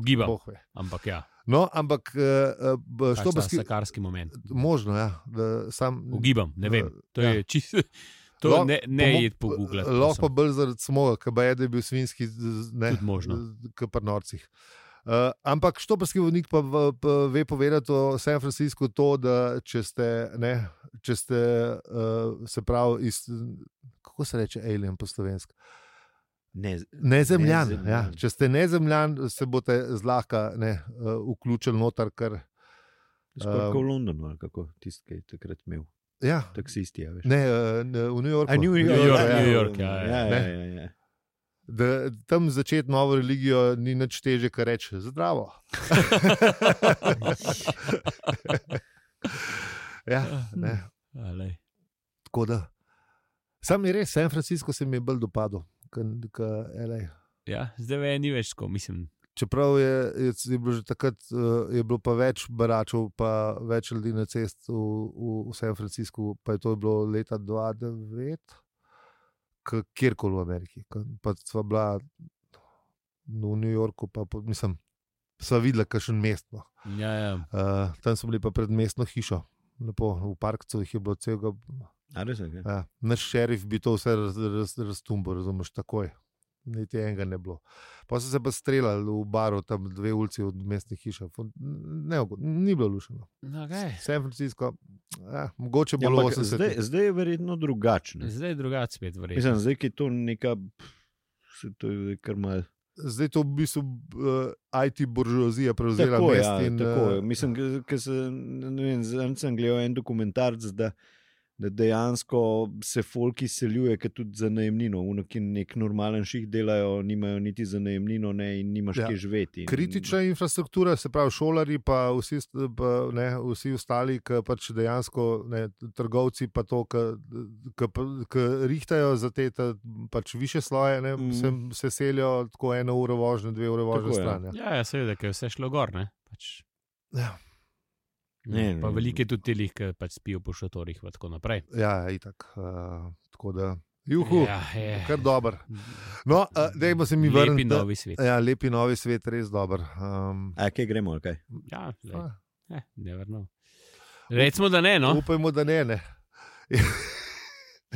Speaker 3: Ugibam,
Speaker 1: Bog ve.
Speaker 3: ampak ja.
Speaker 1: No, ampak eh, eh, b-
Speaker 3: To je
Speaker 1: štoparski.
Speaker 3: sakarski moment.
Speaker 1: Možno, ja, da sam.
Speaker 3: Ugibam, ne vem. To
Speaker 1: Ja.
Speaker 3: je čisto.
Speaker 1: (laughs)
Speaker 3: To
Speaker 1: Lahko-
Speaker 3: ne, ne
Speaker 1: Pomo-
Speaker 3: je pogubljati.
Speaker 1: Lahko pa bolj zaradi smoga, ki je da je bil svinski, z- z- ne,
Speaker 3: Tudi možno.
Speaker 1: kot pri norcih. Uh, ampak štoparski vodnik pa, v- pa ve povedati o San Franciscu to, da če ste, ne, če ste uh, se pravi, iz, kako se reče, alien po slovenski.
Speaker 2: Ne,
Speaker 1: Nezemljan.
Speaker 2: Nezemljan.
Speaker 1: Ja. Če ste nezemljan, se boste zlahka ne, uh, vključili noter, ker.
Speaker 2: skoraj
Speaker 1: Um,
Speaker 2: kot v Londonu, ali kako tisti, ki je takrat imel.
Speaker 1: Ja,
Speaker 2: Taksisti, ja, veš.
Speaker 1: ne, uh, ne, v New Yorku.
Speaker 2: A, New York,
Speaker 3: New York,
Speaker 2: ja,
Speaker 3: New York, ja, ja.
Speaker 2: ja,
Speaker 1: Ne.
Speaker 2: ja, ja, ja.
Speaker 1: da tam začeti novo religijo ni nič teže, kar reči zdravo. ja, ne,
Speaker 3: Alej.
Speaker 1: tako da. Sam je res, San Francisco se mi je bolj dopadel. ke- ke LA.
Speaker 3: Ja, zdaj ve, ni več tako, mislim.
Speaker 1: Čeprav je, je, je bilo že takrat eh, je bilo pa več baračev, pa več ljudi na cesti v, v, v San Franciscu, pa je to bilo leta 2009, ke- kjerkoli v Ameriki. ke- Pa sva bila v New Yorku, pa po- mislim, sva videla, kakšen mestno.
Speaker 3: Ja, ja.
Speaker 1: Uh, tam smo bili pa pred mestno hišo, lepo v parku jih je bilo celega.
Speaker 2: A res, ne, kaj?
Speaker 1: Ja, naš šerif bi to vse raz, raz, raztumbo, razumeš, takoj. Niti enega ne bilo. Pa so se pa streljali v baru, tam dve ulici od mestne hiše. Ful- neugod- Ni bilo lušeno.
Speaker 3: Okay.
Speaker 1: San Francisco, ja, mogoče
Speaker 2: Ja,
Speaker 1: bo bilo
Speaker 2: ampak
Speaker 1: 80.
Speaker 2: zdaj, zdaj je verjetno drugačen.
Speaker 3: Zdaj je drugače spet, verjetno.
Speaker 2: Mislim, zdaj ki je to neka, se to je zdaj kar mal.
Speaker 1: zdaj to v bistvu uh, IT buržoazija prevzela
Speaker 2: Tako,
Speaker 1: mest.
Speaker 2: ja,
Speaker 1: in,
Speaker 2: tako.
Speaker 1: eh,
Speaker 2: Mislim, ker sem gledal en dokumentarc, da, da dejansko se folk izseljuje, ker tudi za najemnino. Uno, ki nek normalen ših delajo, nimajo niti za najemnino ne, in nimaš
Speaker 1: Ja.
Speaker 2: ja. kje živeti. In,
Speaker 1: Kritična infrastruktura, se pravi šolari, pa vsi, st- pa, ne, vsi ostali, ki pač dejansko ne, trgovci, pa to, ki rihtajajo za te ta, pač više sloje, ne, mm.
Speaker 2: Mm.
Speaker 1: se, se selijo tako eno uro vožnje, dve ure vožnje
Speaker 2: Tako, ja.
Speaker 1: stran. Ja.
Speaker 3: Ja, ja seveda, ker je vse šlo gor. Ne? Pač.
Speaker 1: Ja.
Speaker 2: Ne,
Speaker 3: pa
Speaker 2: ne.
Speaker 3: velike tudi telih, ki pač spijo po šotorih in tako naprej.
Speaker 1: ja, itak. Uh, tako da, juhu, ja,
Speaker 3: ja, je.
Speaker 1: kar dober. No, uh, dajmo se mi
Speaker 3: Lepi
Speaker 1: vrniti.
Speaker 3: novi svet.
Speaker 1: Ja, lepi novi svet, res dober. Um,
Speaker 2: A kje gremo, ali kaj?
Speaker 3: Ja, lej,
Speaker 1: a,
Speaker 3: eh, ne vrno. Recimo, da ne, no.
Speaker 1: Upajmo, da ne. (laughs) ne.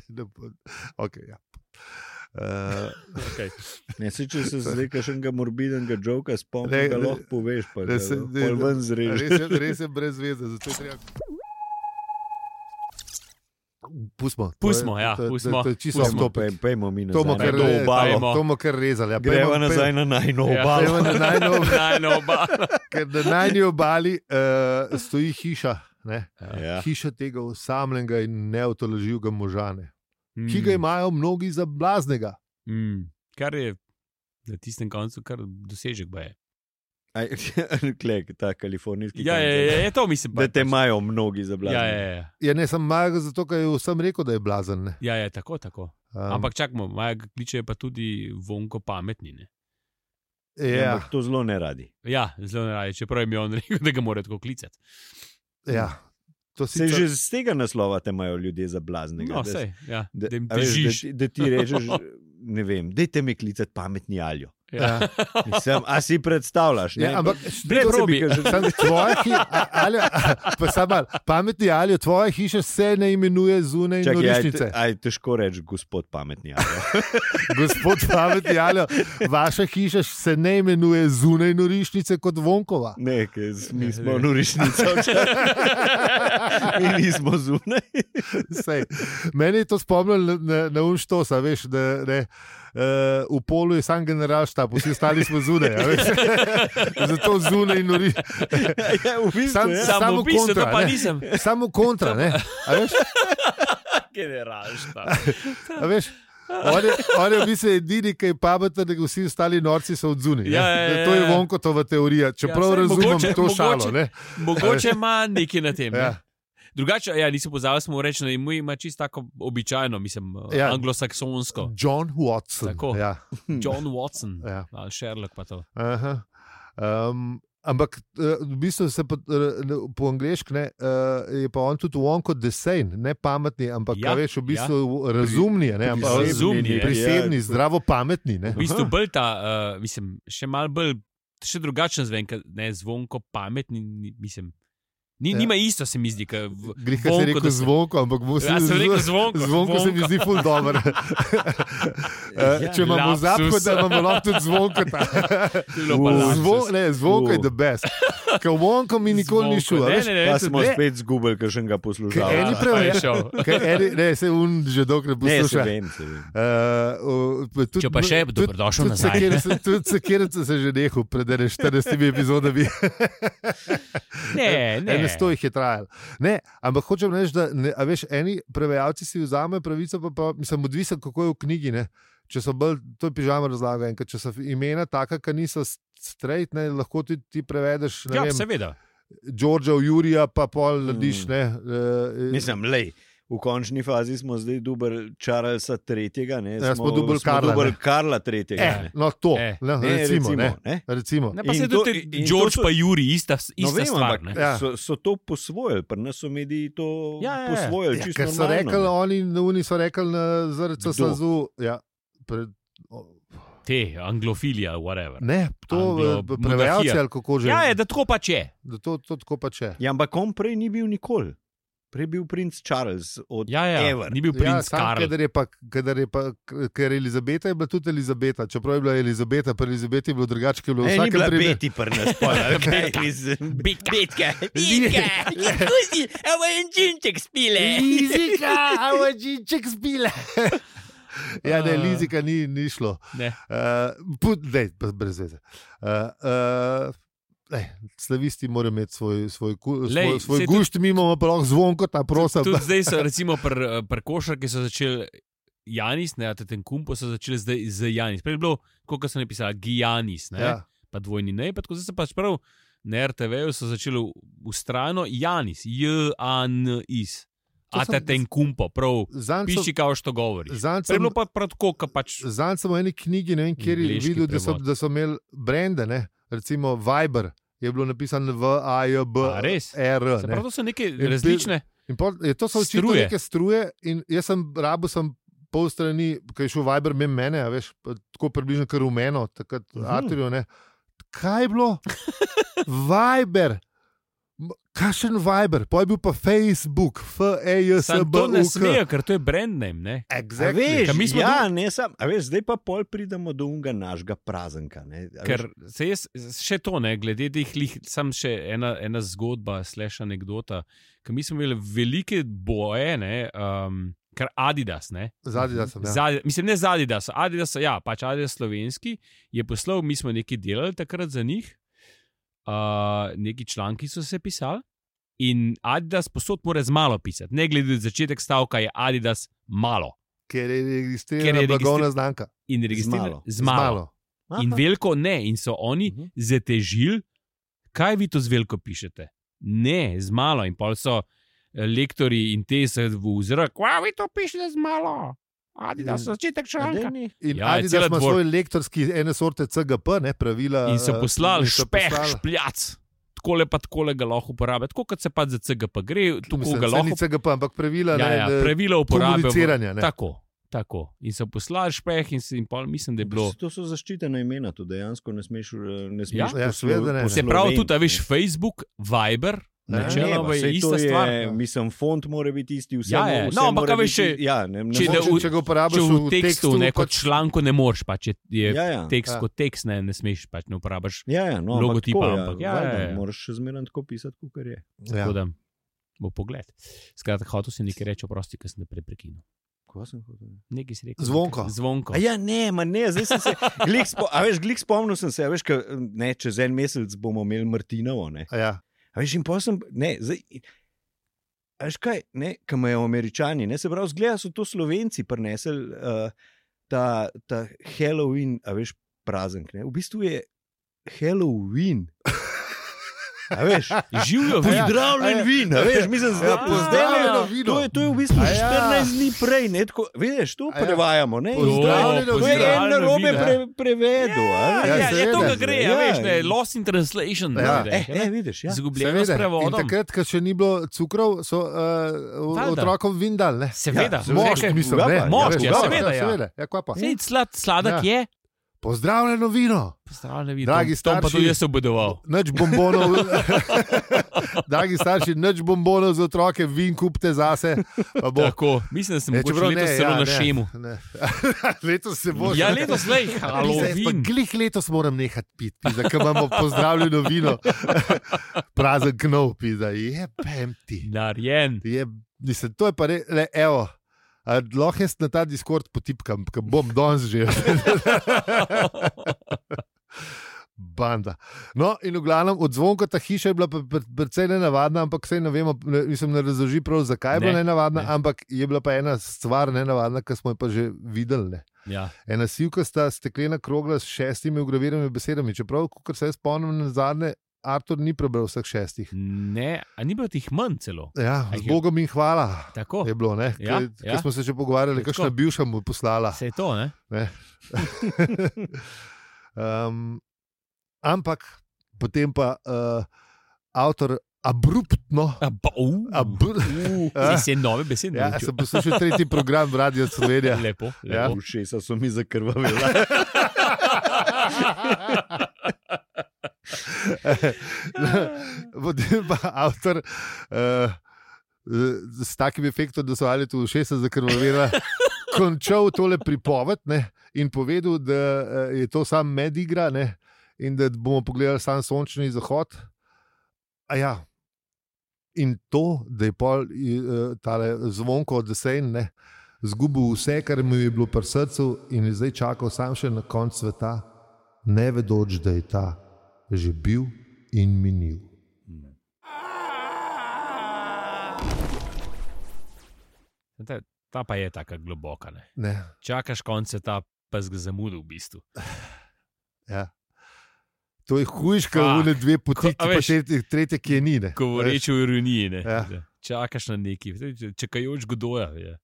Speaker 1: Da bo- okay, ja. uh,
Speaker 3: Okay.
Speaker 2: Ne, se,
Speaker 1: (laughs)
Speaker 2: če se zdaj kakšnega morbidnega joka
Speaker 1: Ne,
Speaker 2: spomniš, ga
Speaker 1: ne,
Speaker 2: lahko poveš, pa
Speaker 1: ne,
Speaker 2: da
Speaker 1: se-
Speaker 2: se
Speaker 1: ne,
Speaker 2: pol ven
Speaker 1: res,
Speaker 2: zrežeš.
Speaker 1: je, res je brez veze, zato je treba. Pustimo, to je-
Speaker 3: Pustimo, ja,
Speaker 1: to je- to je-
Speaker 3: pustimo.
Speaker 1: To je čisto
Speaker 3: Pustimo.
Speaker 1: stop.
Speaker 2: Pej- Pejmo mi
Speaker 1: To bomo
Speaker 2: nazaj.
Speaker 1: kar,
Speaker 2: na to
Speaker 1: re-
Speaker 2: obalo.
Speaker 3: Dajmo.
Speaker 1: to bomo kar rezali. Ja,
Speaker 2: Greva
Speaker 1: pejmo-
Speaker 2: nazaj na najno
Speaker 3: Ja.
Speaker 2: obalo.
Speaker 1: pejmo na najno-
Speaker 2: (laughs)
Speaker 3: (laughs) Najno oba.
Speaker 1: ker Na najni obali uh, stoji hiša. Ne?
Speaker 2: Ja.
Speaker 1: Hiša tega osamljenega in neotoložljivega možane, ki ga imajo mnogi za blaznega.
Speaker 3: Mm. Kar je na tistem koncu, kar dosežek baje.
Speaker 2: Aj, (laughs) Klek, ta kalifornijski.
Speaker 3: Ja,
Speaker 2: kancer.
Speaker 3: je, je, je to
Speaker 2: (laughs)
Speaker 3: mislim. pa-
Speaker 2: Da te imajo mnogi za
Speaker 3: Ja,
Speaker 2: blago.
Speaker 3: je, je.
Speaker 1: Ja, ne sem majhen, zato ker je vsem rekel, da je blazen. ne.
Speaker 3: ja, je tako, tako.
Speaker 1: Um,
Speaker 3: Ampak čakamo, Maja ga kličejo pa tudi vonko pametni. Ne?
Speaker 1: ja,
Speaker 2: To zelo ne radi.
Speaker 3: Ja, zelo ne raje, čeprav jim je on (laughs) rekel, da ga mora tako klicati.
Speaker 1: ja, to
Speaker 2: Se
Speaker 1: si
Speaker 2: že z tega naslova te imajo ljudje za blaznega.
Speaker 3: No,
Speaker 2: da-
Speaker 3: sej, ja,
Speaker 2: Da,
Speaker 3: da jim
Speaker 2: a veš,
Speaker 3: težiš.
Speaker 2: da, ti- da ti rečeš,
Speaker 3: (laughs)
Speaker 2: ne vem, dajte mi klicati pametni aljo.
Speaker 3: (laughs) Ja.
Speaker 2: Mislim, a si predstavljaš?
Speaker 1: Ja,
Speaker 2: ne?
Speaker 1: ampak
Speaker 3: Brez
Speaker 1: to se (laughs)
Speaker 3: robi.
Speaker 1: bi ga že- samo tvoja hi- a- ali- (laughs) pa samo malo, pametni ali tvoja hiša se ne imenuje zunaj
Speaker 2: Čakaj, ja, aj,
Speaker 1: norišnice. (laughs)
Speaker 2: aj težko reči, gospod pametni aljo.
Speaker 1: Gospod pametni ali vaša hiša se ne imenuje zunaj norišnice kot Vonkova. (laughs)
Speaker 2: Ne, ker s- mi smo norišnica,
Speaker 3: (laughs)
Speaker 2: (laughs) mi nismo zunaj. (laughs)
Speaker 1: Sej. Meni je to spomnilo na- na, na unštosa, veš, da ne, uh, v polu je sam general štab, vsi ostali smo zunaj. a veš. (laughs) Zato zunaj norišnice.
Speaker 2: Ja, v bistvu,
Speaker 1: Sam-
Speaker 2: ja.
Speaker 1: sam- Samo
Speaker 3: Samo pisal,
Speaker 1: kontra,
Speaker 3: to pa
Speaker 1: ne.
Speaker 3: nisem.
Speaker 1: Samo kontra, ne? A veš?
Speaker 3: Generalštab.
Speaker 1: A veš, on je, on je v bistvu edini, ki je pameten, da vsi ostali norci so odzuni.
Speaker 3: Ja, ja, ja,
Speaker 1: To je
Speaker 3: ja.
Speaker 1: vonkotova teorija, čeprav
Speaker 3: Ja,
Speaker 1: ja,
Speaker 3: saj,
Speaker 1: razumem mogoče,
Speaker 3: mogoče-
Speaker 1: to mogoče. šalo.
Speaker 3: mogoče.
Speaker 1: Ne?
Speaker 3: (laughs) Mogoče ima nekaj na tem.
Speaker 1: Ja.
Speaker 3: Ja. Drugače, ja, nisem pozabil, smo reči, da imu ima čisto tako običajno, mislim,
Speaker 1: Ja.
Speaker 3: ja. anglosaksonsko.
Speaker 1: John Watson.
Speaker 3: Tako.
Speaker 1: Ja,
Speaker 2: Hm.
Speaker 3: John Watson
Speaker 1: ja.
Speaker 3: ali Sherlock pa to.
Speaker 1: Aha. Um, ampak eh, v bistvu se po, po angliščku ne, eh, je pa on tudi on kot desen, ne pametni, ampak
Speaker 3: Ja,
Speaker 1: ja, veš, v bistvu ja. razumni, je, ne, ampak,
Speaker 3: prisebni, Razumni,
Speaker 1: prisebni,
Speaker 3: je. ja.
Speaker 1: prisebni zdravo pametni. Ne.
Speaker 3: V bistvu bolj ta, uh, mislim, še malo bolj, še drugačen zven, ke ne zvonko pametni, ni- mislim. Ni,
Speaker 1: Ja.
Speaker 3: ja. Nima isto, se mi zdi, kot
Speaker 1: Greh, kaj si rekel zvonko, ampak bo se
Speaker 3: Ja, sem rekel zvonko,
Speaker 1: Zvonko se mi
Speaker 3: zvonko.
Speaker 1: zdi ful
Speaker 3: (laughs)
Speaker 1: dobro.
Speaker 3: Ja.
Speaker 1: Eh, Če imamo
Speaker 3: lapsus.
Speaker 1: zapko, da imamo lahko tudi zvonko.
Speaker 3: (laughs)
Speaker 1: Zvon, ne, zvonko je
Speaker 2: Uh.
Speaker 1: the best. Ker vonko mi nikoli ni šlo. a
Speaker 3: Ne,
Speaker 1: veš.
Speaker 3: ne,
Speaker 2: Pa
Speaker 3: ne,
Speaker 2: smo
Speaker 1: ne.
Speaker 2: spet zgubili, ker še ga poslušamo.
Speaker 1: Ker
Speaker 3: ja,
Speaker 1: eni
Speaker 3: pa
Speaker 1: prav,
Speaker 3: je
Speaker 1: ja.
Speaker 3: šel.
Speaker 1: Ker eni- Ne, se un že dokler
Speaker 2: Ne, se
Speaker 1: posluša.
Speaker 2: vem, se vem.
Speaker 1: Uh, o, tudi-
Speaker 3: Če pa še,
Speaker 1: tudi-
Speaker 3: dobrodošel
Speaker 1: tudi
Speaker 3: nazaj.
Speaker 1: sekirac- Tudi sekirce se že nehal pred ene 14 epizodami.
Speaker 3: Ne, ne.
Speaker 1: Ene sto jih je trajalo. Ne, ampak hočem reči, da ne, a veš, eni prevajalci si vzamejo pravico, pa, pa sem odvisen, kako je v knjigi. Ne. Če so bolj, to je pižama razlaga, enkrat, če so imena taka, ki niso straight, ne, lahko ti, ti prevedeš, ne
Speaker 3: Ja,
Speaker 1: vem,
Speaker 3: seveda.
Speaker 1: Đorđa, Jurija, pa pol narediš,
Speaker 2: Mm.
Speaker 1: ne. eh,
Speaker 2: Mislim, lej, v končni fazi smo zdaj dubli Charlesa III. Ne,
Speaker 1: Ja, smo dubli Karla,
Speaker 2: Dubl
Speaker 1: ne.
Speaker 2: Karla III.
Speaker 1: eh, no, to,
Speaker 3: Eh.
Speaker 1: ne,
Speaker 2: Ne,
Speaker 1: recimo, ne,
Speaker 2: ne.
Speaker 1: recimo.
Speaker 3: Ne, pa
Speaker 2: In
Speaker 3: se
Speaker 2: to-
Speaker 3: tudi
Speaker 2: in to
Speaker 3: George
Speaker 2: so-
Speaker 3: pa Juri, ista,
Speaker 2: No,
Speaker 3: ista
Speaker 2: vem,
Speaker 3: stvar.
Speaker 2: ampak
Speaker 3: ne.
Speaker 1: Ja.
Speaker 2: so, so to posvojili, pri nas so mediji to
Speaker 3: Ja, ja, ja.
Speaker 2: posvojili.
Speaker 1: Ja,
Speaker 2: čisto
Speaker 1: ker so
Speaker 2: normalno,
Speaker 1: rekli,
Speaker 2: ne.
Speaker 1: oni na Uni so rekli, na- zaradi
Speaker 2: Kdo?
Speaker 1: CSU. Ja, pred, o,
Speaker 3: Te, anglofilija, whatever.
Speaker 1: ne, to
Speaker 3: Anglo-
Speaker 1: eh, prevajalci
Speaker 3: monarhija.
Speaker 1: ali kako že.
Speaker 3: Ja, je, da tako pač je.
Speaker 1: Da to, to tako pač je.
Speaker 2: Ja, ampak on prej ni bil nikoli. Prej je bil princ Charles od
Speaker 3: Ja, ja.
Speaker 2: Ever.
Speaker 3: Ni bil princ ja, Karl.
Speaker 1: Ker je pa, kadar je pa ker Elizabeta je bila tudi Elizabeta, čeprav je bila Elizabeta, pri Elizabeti je bilo drugače, ker je bilo
Speaker 2: Ne, E, ni
Speaker 1: vsakem
Speaker 2: bila
Speaker 1: primeru.
Speaker 2: beti pri nas, pol,
Speaker 1: (laughs)
Speaker 2: ali kaj, mislim.
Speaker 3: Bitka.
Speaker 6: Bitka, bitka, izkusi, a mojem džinček spile.
Speaker 1: Lizika, avadžinček
Speaker 3: (laughs)
Speaker 1: spila. Ja, ne, Lizika ni, ni šlo.
Speaker 3: Ah. Ne.
Speaker 1: Uh, put, ne, brez veze. Uh, uh, Ne, slavisti morajo imeti svoj, svoj, ku-
Speaker 3: Lej,
Speaker 1: svoj, svoj
Speaker 3: saj
Speaker 1: gušt, mi imamo pa lahko zvonko, ta prosa.
Speaker 3: Tudi zdaj so, recimo, pri pri košarki so začeli Janis, ne, ten kumpo so začeli zdaj z Janis. Prej je bilo, kot so napisali, Gijanis, ne, ja.
Speaker 1: Ja,
Speaker 3: pa dvojni ne, pa tako zdaj se pač prav. Na RTV-ju so začeli ustrajno Janis, J-A-N-I-S,
Speaker 1: To
Speaker 3: a
Speaker 1: sem-
Speaker 3: te ten kumpo, prav,
Speaker 1: zanj so-
Speaker 3: piši kao što govoriš.
Speaker 1: zanj
Speaker 3: Prej
Speaker 1: sem-
Speaker 3: je bilo pa prav tako, kot pač.
Speaker 1: Zanj sem v eni knjigi, ne vem, kjer je
Speaker 3: Angleški
Speaker 1: videl, da so,
Speaker 3: prevod.
Speaker 1: da so imeli brende, ne, recimo Viber. Je bilo napisano v AJB,
Speaker 3: A res?
Speaker 1: R.
Speaker 3: Se
Speaker 1: ne.
Speaker 3: pravi, to so neke
Speaker 1: In pi-
Speaker 3: različne.
Speaker 1: In pol, je, to so očitno
Speaker 3: Struje.
Speaker 1: neke struje. in Jaz sem rabo sem pol strani, ki je šel Viber mem mene, a veš, pa tako približno kot rumeno, takrat uh
Speaker 2: Mhm.
Speaker 3: (laughs)
Speaker 1: -huh. Arturju. Ne. Kaj je bilo? Viber. Kakšen Viber, pa je bil pa Facebook, E
Speaker 3: Sam to ne
Speaker 1: FAJSB.
Speaker 3: smejo, ker to je brand name. Ne?
Speaker 2: A Veš,
Speaker 1: Exactly.
Speaker 3: Ja, mi smo
Speaker 2: ja, ne, sam, a veš, zdaj pa pol pridemo do unga našega praznka. Ne, a
Speaker 3: Ker
Speaker 2: veš,
Speaker 3: se jaz, še to ne, glede teh lih, sam še ena, ena zgodba, slash anekdota. Ker mi smo imeli velike boje, ne, um, ker Adidas, ne,
Speaker 1: Zadnji, da sem
Speaker 3: ja.
Speaker 1: ja.
Speaker 3: Zadi, mislim, ne za Adidas, Adidas, ja, pač Adidas slovenski, je poslal, mi smo nekaj delali takrat za njih, uh, neki članki so se pisali. In Adidas posod mora z malo pisati, ne glede na začetek stavka, je Adidas malo.
Speaker 1: ker je
Speaker 3: Ker
Speaker 1: registrirana
Speaker 3: je registri-
Speaker 1: blagovna znamka.
Speaker 3: In registriran
Speaker 2: malo.
Speaker 3: z malo.
Speaker 2: aha,
Speaker 3: In veliko ne, in so oni
Speaker 2: Mhm.
Speaker 3: zatežili, kaj vi to z veliko pišete. Ne, z malo. In pol so eh, lektori in te se v zrak, kaj vi to pišete z malo. Adi, da so
Speaker 2: a
Speaker 3: začetek
Speaker 2: daj
Speaker 3: članka.
Speaker 2: mi.
Speaker 1: In
Speaker 3: Ja,
Speaker 1: ja,
Speaker 3: je
Speaker 1: Adidas
Speaker 3: cela
Speaker 1: ima
Speaker 3: dvor-
Speaker 1: svoj lektorski ene sorte CGP, ne pravila.
Speaker 3: In so
Speaker 1: eh,
Speaker 3: poslali
Speaker 1: in so
Speaker 3: špeh,
Speaker 1: poslali-
Speaker 3: špljac. Tako lepa, tako le ga lahko uporablja, tako kot se pa za CGP gre, tako
Speaker 1: Mislim,
Speaker 3: ga
Speaker 1: saj ni
Speaker 3: lahko
Speaker 1: CGP, ampak pravila.
Speaker 3: Ja,
Speaker 1: ne,
Speaker 3: ja,
Speaker 1: da-
Speaker 3: pravila uporabe. v-
Speaker 1: komuniciranja, ne.
Speaker 3: Tako, tako. In so poslali špeh, in, se, in pol, mislim, da je bilo.
Speaker 2: To so zaščitena imena, to dejansko ne smeš, eh, ne smeš
Speaker 3: Ja,
Speaker 1: ja,
Speaker 2: poslo-
Speaker 1: seveda ne.
Speaker 3: Se pravi,
Speaker 2: posloveniti,
Speaker 3: tudi, a
Speaker 2: ne.
Speaker 3: veš, Facebook, Viber,
Speaker 1: Ne,
Speaker 2: Ne,
Speaker 3: načeloma
Speaker 2: pa
Speaker 3: je
Speaker 2: saj to
Speaker 3: ista stvar. no.
Speaker 2: je, Mislim, font mora biti isti, vse
Speaker 3: Ja,
Speaker 2: mo-
Speaker 3: je.
Speaker 2: vse
Speaker 3: No, ampak
Speaker 2: mora
Speaker 3: a veš,
Speaker 2: biti- ja, ne, ne
Speaker 3: če da
Speaker 2: moreš-
Speaker 3: v-
Speaker 1: Mogoče, Če ga uporabiš
Speaker 3: Če v tekstu, ne kot
Speaker 1: pač-
Speaker 3: članku, ne moreš, pač je, je
Speaker 2: ja, ja.
Speaker 3: tekst
Speaker 1: Ja.
Speaker 3: kot tekst, ne, ne smeš, pač ne uporabiš.
Speaker 2: Ja, ja, no,
Speaker 3: logotipa,
Speaker 2: ampak, tako,
Speaker 3: ampak ja,
Speaker 2: ja,
Speaker 3: ja,
Speaker 2: valjda,
Speaker 3: ja.
Speaker 2: moraš še zmeraj tako pisati, kot je.
Speaker 3: Tako
Speaker 1: Ja.
Speaker 3: da bo pogled. Skratka, hotel si nekaj reči, oprosti, ker sem te preprekinil.
Speaker 2: Kaj sem hotel?
Speaker 3: Nekaj si rekel.
Speaker 1: Zvonko.
Speaker 3: Zvonko.
Speaker 2: A Ja, ne, ma ne, zdaj sem se. Glih spo, a veš, glih spomnil sem se, a veš, ka, ne, čez en mesec bomo imeli Martinovo. Ne.
Speaker 1: Ja.
Speaker 2: A veš, in posem, ne, zdaj. A veš kaj, ne, kam imajo američani, ne, se pravi, zgleda so to slovenci prinesli uh, ta, ta Halloween, a veš, praznik. Ne. V bistvu je
Speaker 1: (laughs)
Speaker 2: Halloween. A veš,
Speaker 1: Ja.
Speaker 3: Živijo, vidiš.
Speaker 2: Pozdravljen
Speaker 1: a ja.
Speaker 2: vin, a veš, mislim, da
Speaker 1: Ja,
Speaker 2: je
Speaker 1: pozdravljeno vino.
Speaker 2: To je, to je v bistvu
Speaker 1: A ja.
Speaker 2: 14 dni prej, ne, tako, vidiš, to
Speaker 1: A ja.
Speaker 2: prevajamo. Ne, in
Speaker 1: Pozdravljeno
Speaker 2: to je-
Speaker 1: vino. ja.
Speaker 2: To je en
Speaker 3: Pozdravljeno
Speaker 2: narobe
Speaker 3: vino.
Speaker 2: pre, prevedel. a
Speaker 3: Ja,
Speaker 2: veš.
Speaker 3: ja, ja, to
Speaker 1: seveda.
Speaker 3: ga gre, ja,
Speaker 2: Ja.
Speaker 3: veš, ne, lost in translation.
Speaker 1: Ja.
Speaker 3: Ja.
Speaker 2: Eh, eh, vidiš, ja.
Speaker 3: Zgubljeno s
Speaker 1: Seveda. In
Speaker 3: prevodom.
Speaker 1: takrat, ko še ni bilo cukrov, so uh,
Speaker 3: Valjda.
Speaker 1: otrokom vindal. ne.
Speaker 3: Seveda,
Speaker 2: Ja,
Speaker 1: Mož,
Speaker 3: Vse,
Speaker 2: mi-
Speaker 1: mislim, ne.
Speaker 2: Mož,
Speaker 1: veš,
Speaker 2: ja,
Speaker 1: uglavnom,
Speaker 3: seveda, ja.
Speaker 1: seveda. Ja, kaj pa?
Speaker 3: saj slad,
Speaker 1: Ja.
Speaker 3: sladek je.
Speaker 1: Pozdravljeno vino.
Speaker 3: Pozdravljen, vidiš.
Speaker 1: Dragi
Speaker 3: Tom pa
Speaker 1: starši.
Speaker 3: tudi jaz obedoval.
Speaker 1: Nič bombonov, (laughs) dragi starši, nič bombonov za otroke, vin kupite zase. pa bo.
Speaker 3: Tako, mislim, da sem
Speaker 1: Ja,
Speaker 3: mogoče
Speaker 1: čeprav
Speaker 3: letos
Speaker 1: ne,
Speaker 3: celo
Speaker 1: ja,
Speaker 3: na
Speaker 1: ne,
Speaker 3: šemu.
Speaker 1: ne. (laughs) letos se bo.
Speaker 3: Ja, letos
Speaker 2: (laughs)
Speaker 3: lej,
Speaker 1: Halloween.
Speaker 3: Halloween.
Speaker 1: Glih letos moram nehati piti, pizda, ker imamo pozdravljeno vino, (laughs) prazen gnov, pizda. je pem ti.
Speaker 3: Narejen.
Speaker 1: Je, mislim, to je pa re, le, evo. a Lahko jaz na ta Discord potipkam, ker bom danes že. (laughs) Banda. No, in v glavnem od zvonka ta hiša je bila pre- pre- precej nenavadna, ampak vse ne vemo, ne, mislim, ne razloži prav, zakaj je bila
Speaker 3: Ne,
Speaker 1: nenavadna,
Speaker 3: ne.
Speaker 1: ampak je bila pa ena stvar nenavadna, ki smo jo pa že videli. Ne.
Speaker 3: Ja.
Speaker 1: Ena sivka sta steklena krogla s šestimi ugraviranimi besedami, čeprav, kot se jaz spomnim, na zadnje, Artur ni prebral vseh šestih.
Speaker 3: Ne, a ni bilo tih manj celo.
Speaker 1: Ja,
Speaker 3: A
Speaker 1: z
Speaker 3: je-
Speaker 1: Bogom in hvala.
Speaker 3: Tako.
Speaker 1: Je bilo, ne? Ja,
Speaker 3: Ja,
Speaker 1: Kaj,
Speaker 3: ja.
Speaker 1: ja. smo se že pogovarjali,
Speaker 3: Tako.
Speaker 1: kakšna bivša mu je poslala. (laughs)
Speaker 3: Se je to, ne?
Speaker 1: um, ampak potem pa uh, avtor
Speaker 3: (laughs)
Speaker 1: abruptno.
Speaker 3: A, ba, uh,
Speaker 1: Abr
Speaker 3: Zdaj si je nove besede.
Speaker 1: ja,
Speaker 3: naučil.
Speaker 1: sem poslušal tretji program Radio
Speaker 3: (laughs)
Speaker 1: Slovenija.
Speaker 3: Lepo.
Speaker 1: Ja.
Speaker 3: lepo.
Speaker 2: Ušesa so mi zakrvavila.
Speaker 1: (laughs) Potem pa avtor uh, s takim efektom, da so ali tu še se zakrvavila. Končal tole pripoved ne, in povedal, da eh, je to samo medigra ne, in da bomo pogledali sam sončni zahod. A ja. In to, da je pol ta zvonko od desen, ne, zgubil vse, kar mu je bilo pri srcu in je zdaj čakal sam še na konc sveta, ne vedoč, da je ta že bil in minil.
Speaker 3: Ta, ta pa je tako globoka. Ne?
Speaker 1: Ne.
Speaker 3: Čakaš konce, ta pa zg zamudil v bistvu.
Speaker 1: Ja. To je hujš, kot
Speaker 3: Fak.
Speaker 1: le dve
Speaker 3: Ah, Ko-
Speaker 1: poti,
Speaker 3: a
Speaker 1: ki pa
Speaker 3: veš-
Speaker 1: še tretje, ki je ni. ne.
Speaker 3: Govoreč o ironiji. Ne?
Speaker 1: Ja.
Speaker 3: Čakaš na neki, čakajoč godoja. Je.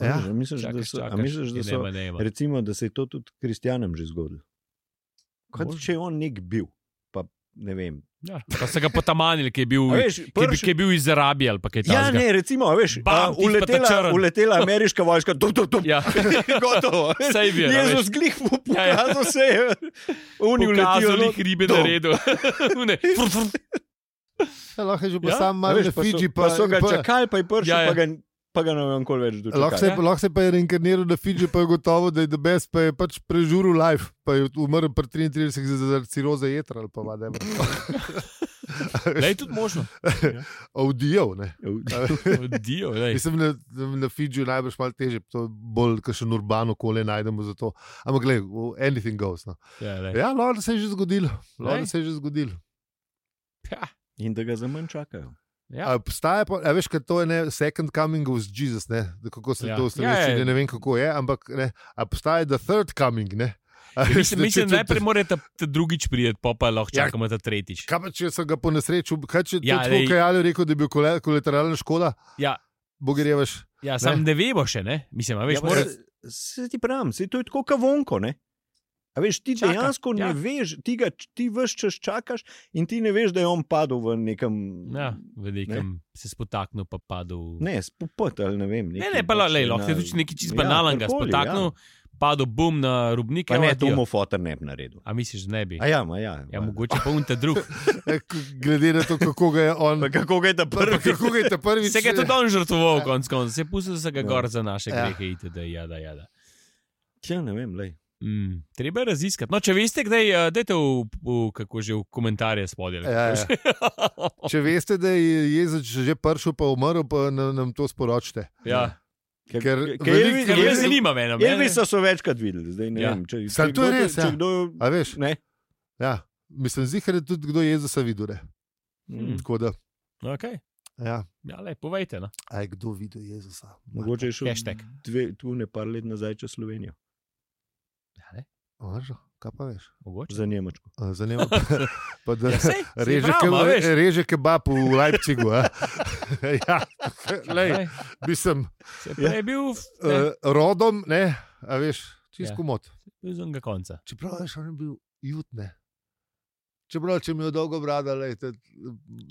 Speaker 1: Ja.
Speaker 2: A misliš, da
Speaker 3: Čakaš,
Speaker 2: so, a
Speaker 3: čakaš,
Speaker 2: misliš, da
Speaker 3: in
Speaker 2: so
Speaker 3: nema, nema.
Speaker 2: recimo, da se je to tudi kristjanom že zgodilo? Kot
Speaker 3: Možno.
Speaker 2: če je on nek bil, pa ne vem.
Speaker 3: Ja. Pa so ga potamanili, ki je bil,
Speaker 2: A Veš,
Speaker 3: ki je, bil-
Speaker 2: prvič-
Speaker 3: ki je bil iz Arabije ali pa kaj
Speaker 2: Ja,
Speaker 3: takega.
Speaker 2: ne, recimo, a veš,
Speaker 3: Bam,
Speaker 2: a,
Speaker 3: ti pa ta
Speaker 2: uletela,
Speaker 3: črn.
Speaker 2: uletela ameriška vojska, tu, tu, tu.
Speaker 3: Ja.
Speaker 2: (laughs) Gotovo. a veš.
Speaker 3: Saj bi, a veš.
Speaker 2: Jezus glih mu
Speaker 3: Ja, ja.
Speaker 2: pokazal se je. Oni
Speaker 3: Ni
Speaker 2: uletijo. no. (laughs)
Speaker 3: (laughs) ukazal
Speaker 2: not.
Speaker 3: jih ribe
Speaker 2: Dom.
Speaker 3: na redu.
Speaker 1: Ja, lahko je že bil
Speaker 3: Ja,
Speaker 1: sam
Speaker 2: A
Speaker 1: malo na
Speaker 2: veš, pa so-
Speaker 1: Fiji.
Speaker 2: pa so ga čakali, pa je prišel,
Speaker 3: Ja, ja.
Speaker 2: pa ga- pa ga ne vem, koliko več
Speaker 1: Lahko se,
Speaker 2: dočakali.
Speaker 1: je- lahko se pa je reinkarniral na Fiji, pa je gotovo, da je the best, pa je pač prežuril life, pa je umrl pri 33 za- zaradi ciroze jetra ali pa
Speaker 3: (laughs)
Speaker 1: vadem.
Speaker 3: Le je tudi
Speaker 2: (laughs)
Speaker 3: možno.
Speaker 1: Audio, ne.
Speaker 2: Ja,
Speaker 3: Odijo, lej.
Speaker 1: Mislim, na, na Fidžiju najbrž malo teže, to je bolj kakšen urban okolje najdemo za to. Ampak, gled, anything goes. No.
Speaker 3: Ja, lej.
Speaker 1: Ja, lor se je že zgodilo, lor
Speaker 3: Glej.
Speaker 1: se je že zgodilo.
Speaker 3: Ja.
Speaker 2: In da ga za manj čakajo.
Speaker 3: Ja.
Speaker 1: A Obstaja pa, a veš, kaj to je, ne, second coming of Jesus, ne, da kako se
Speaker 3: Ja.
Speaker 1: ja. to v
Speaker 3: Ja, ja.
Speaker 1: slovenščini, ne vem kako je, ampak ne, a obstaja the third coming, ne. A veš,
Speaker 3: Ja, Mislim, mislim,
Speaker 1: če-
Speaker 3: da
Speaker 1: če-
Speaker 3: najprej mora ta, ta drugič priti, pa pa lahko
Speaker 1: Ja.
Speaker 3: čakamo ta tretjič.
Speaker 1: Kaj pa, če so ga po nesreči, ub- kaj če
Speaker 3: Ja,
Speaker 1: ja, to
Speaker 3: lej.
Speaker 1: tako, kaj je rekel, da je bil kole- kolateralna škoda?
Speaker 3: Ja.
Speaker 1: Bogerjevaš.
Speaker 3: Ja, sam ne, ne vemo še, ne? Mislim, a veš,
Speaker 2: Ja,
Speaker 3: ja,
Speaker 2: pa
Speaker 3: mora,
Speaker 2: se- Se ti pravim, se to je tako kavonko. Ne? A veš, ti
Speaker 3: Čaka,
Speaker 2: Čaka, dejansko ja.
Speaker 3: ja.
Speaker 2: ne veš, ti, ga, ti veš, češ čakaš, in ti ne veš, da je on padel v nekem.
Speaker 3: ja, v nekem se spotaknil, pa padel.
Speaker 2: Ne, spopot ali ne vem.
Speaker 3: ne,
Speaker 2: nekaj
Speaker 3: ne pa
Speaker 2: pač
Speaker 3: lej, lahko
Speaker 2: na-
Speaker 3: je tudi nekaj čist
Speaker 2: Ja,
Speaker 3: banalnega,
Speaker 2: karkoli,
Speaker 3: spotaknil,
Speaker 2: Ja.
Speaker 3: padel bum na rubnik.
Speaker 2: Pa
Speaker 3: evo,
Speaker 2: ne, to
Speaker 3: adijo.
Speaker 2: mu fotor ne bi naredil.
Speaker 3: A misliš, da ne bi?
Speaker 2: A ja, ma ja.
Speaker 3: Ja,
Speaker 2: valjda.
Speaker 3: mogoče pa unta
Speaker 2: (laughs)
Speaker 3: drug.
Speaker 1: Eh, k- Glede na to, kako ga je on.
Speaker 2: Pa kako ga je ta
Speaker 3: (laughs)
Speaker 1: Pa, pa,
Speaker 2: prvi?
Speaker 1: kako ga je ta prvi?
Speaker 3: Se ga je tudi on žrtvoval, konc konc, se je pustil se ga
Speaker 2: Ja.
Speaker 3: gor za naše
Speaker 1: Ja.
Speaker 3: grehe, itd. Jada, jada.
Speaker 2: Ja, ne vem, lej.
Speaker 3: Mm, treba je raziskati. No, če veste, kdaj, eh, dajte v, v, kako že v komentarje spodaj.
Speaker 1: Ja, ja. (laughs) Če veste, da je jezik že prišel, pa umrl, pa nam, nam to sporočite.
Speaker 3: ja.
Speaker 2: Ker,
Speaker 1: Ker veliko-
Speaker 3: Ker me
Speaker 1: Elvis-
Speaker 3: zanima, mene.
Speaker 2: Elvisa so večkrat videli, zdaj ne
Speaker 3: Ja.
Speaker 2: ja. vem. Če,
Speaker 1: Sam
Speaker 2: če
Speaker 1: to je
Speaker 2: kdo-
Speaker 1: res,
Speaker 2: če
Speaker 1: ja.
Speaker 2: Kdo,
Speaker 1: A veš?
Speaker 2: ne,
Speaker 1: Ja. Mislim, zihar je tudi kdo Jezusa videl. ne.
Speaker 3: Mm.
Speaker 1: Tako da,
Speaker 3: Okay.
Speaker 1: Ja.
Speaker 3: Ja, le, povejte. No.
Speaker 1: A je kdo videl Jezusa?
Speaker 2: mogoče je šel
Speaker 3: Hashtag.
Speaker 2: dve, tu ne par let nazaj čez Slovenijo,
Speaker 3: Ja, le,
Speaker 1: Oržo, kaj pa veš? (laughs)
Speaker 3: mogoče.
Speaker 2: za Nemčko.
Speaker 1: A, Zanima me,
Speaker 3: (laughs)
Speaker 1: pa da
Speaker 3: Ja, sej, sej
Speaker 1: reže,
Speaker 3: prav,
Speaker 1: keba-
Speaker 3: a veš.
Speaker 1: reže kebab v Leipzigu. a. (laughs) ja, (laughs) lej, Ja.
Speaker 3: Ej,
Speaker 1: mislim,
Speaker 3: Se je prej bil v- ne,
Speaker 1: uh, rodom, ne, a veš, čisto
Speaker 3: Ja.
Speaker 1: komod.
Speaker 3: bil z onega konca.
Speaker 1: Čeprav je še on je bil jutne. Čeprav če mi je dolgo brada, lej, te,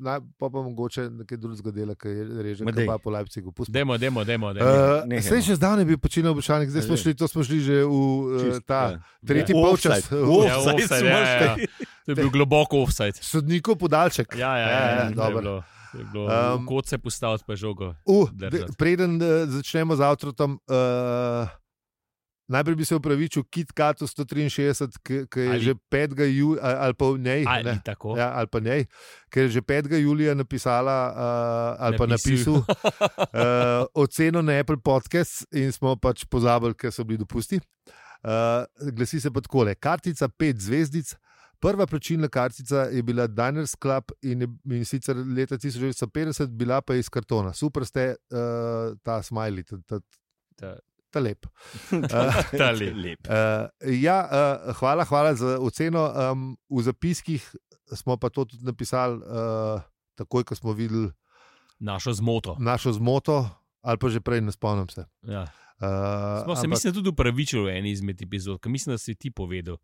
Speaker 1: naj, pa pa mogoče nekaj drugega dela, ki je reže
Speaker 2: Ma dej.
Speaker 1: kebab v Leipzigu. Pusti.
Speaker 3: Demo, demo, demo. demo.
Speaker 1: Uh,
Speaker 2: nehajmo.
Speaker 1: Sej še zdavne bi počel običajnik, zdaj smo
Speaker 2: Ja, že.
Speaker 1: šli, to smo šli že v uh,
Speaker 2: Čist,
Speaker 1: ta
Speaker 2: ja.
Speaker 1: tretji
Speaker 2: Ja.
Speaker 1: polčas. (laughs)
Speaker 2: Offside.
Speaker 1: Uh,
Speaker 3: Ja,
Speaker 2: Offside
Speaker 3: offside,
Speaker 2: smo
Speaker 3: ja, ja, ja.
Speaker 2: šli.
Speaker 3: To je bil globoko offside.
Speaker 1: Sodnikov podaljšek.
Speaker 3: Ja, ja,
Speaker 1: Ja,
Speaker 3: ja,
Speaker 1: ja,
Speaker 3: ja,
Speaker 1: dobro.
Speaker 3: dobro.
Speaker 1: Um,
Speaker 3: Um, Kot se postaviti pa žogo.
Speaker 1: Uh,
Speaker 3: Držati.
Speaker 1: de, preden uh, začnemo z avtom, uh, najprej bi se upravičil Kit Katu 163, ki ki je
Speaker 3: Ali-
Speaker 1: že 5. julija, ali pa v njej.
Speaker 3: Ali
Speaker 1: ne.
Speaker 3: tako?
Speaker 1: Ja, ali pa njej, ker je že 5. julija napisala, uh, ali pa napisal
Speaker 3: Napisal.
Speaker 1: uh,
Speaker 3: (laughs)
Speaker 1: oceno na Apple podcast, in smo pač pozabili, ker so bili dopusti. Uh, glasi se pa takole: kartica 5 zvezdic. Prva plačilna kartica je bila Diners Club in, je, in sicer leta 1950, bila pa je iz kartona. Super ste uh, ta smajli, ta, ta,
Speaker 3: Ta-
Speaker 1: ta
Speaker 3: (laughs)
Speaker 1: lep. Eh,
Speaker 3: Ta lep.
Speaker 2: lep.
Speaker 1: Uh, ja, uh, hvala, hvala za oceno. Um, v zapiskih smo pa to tudi napisali, uh, takoj ko smo videli
Speaker 3: Našo zmoto.
Speaker 1: našo zmoto, ali pa že prej, ne spomnim se.
Speaker 3: Ja.
Speaker 1: Uh,
Speaker 3: Smo se, mislim, tudi upravičili v eni izmed epizod, ker mislim, da si ti povedal,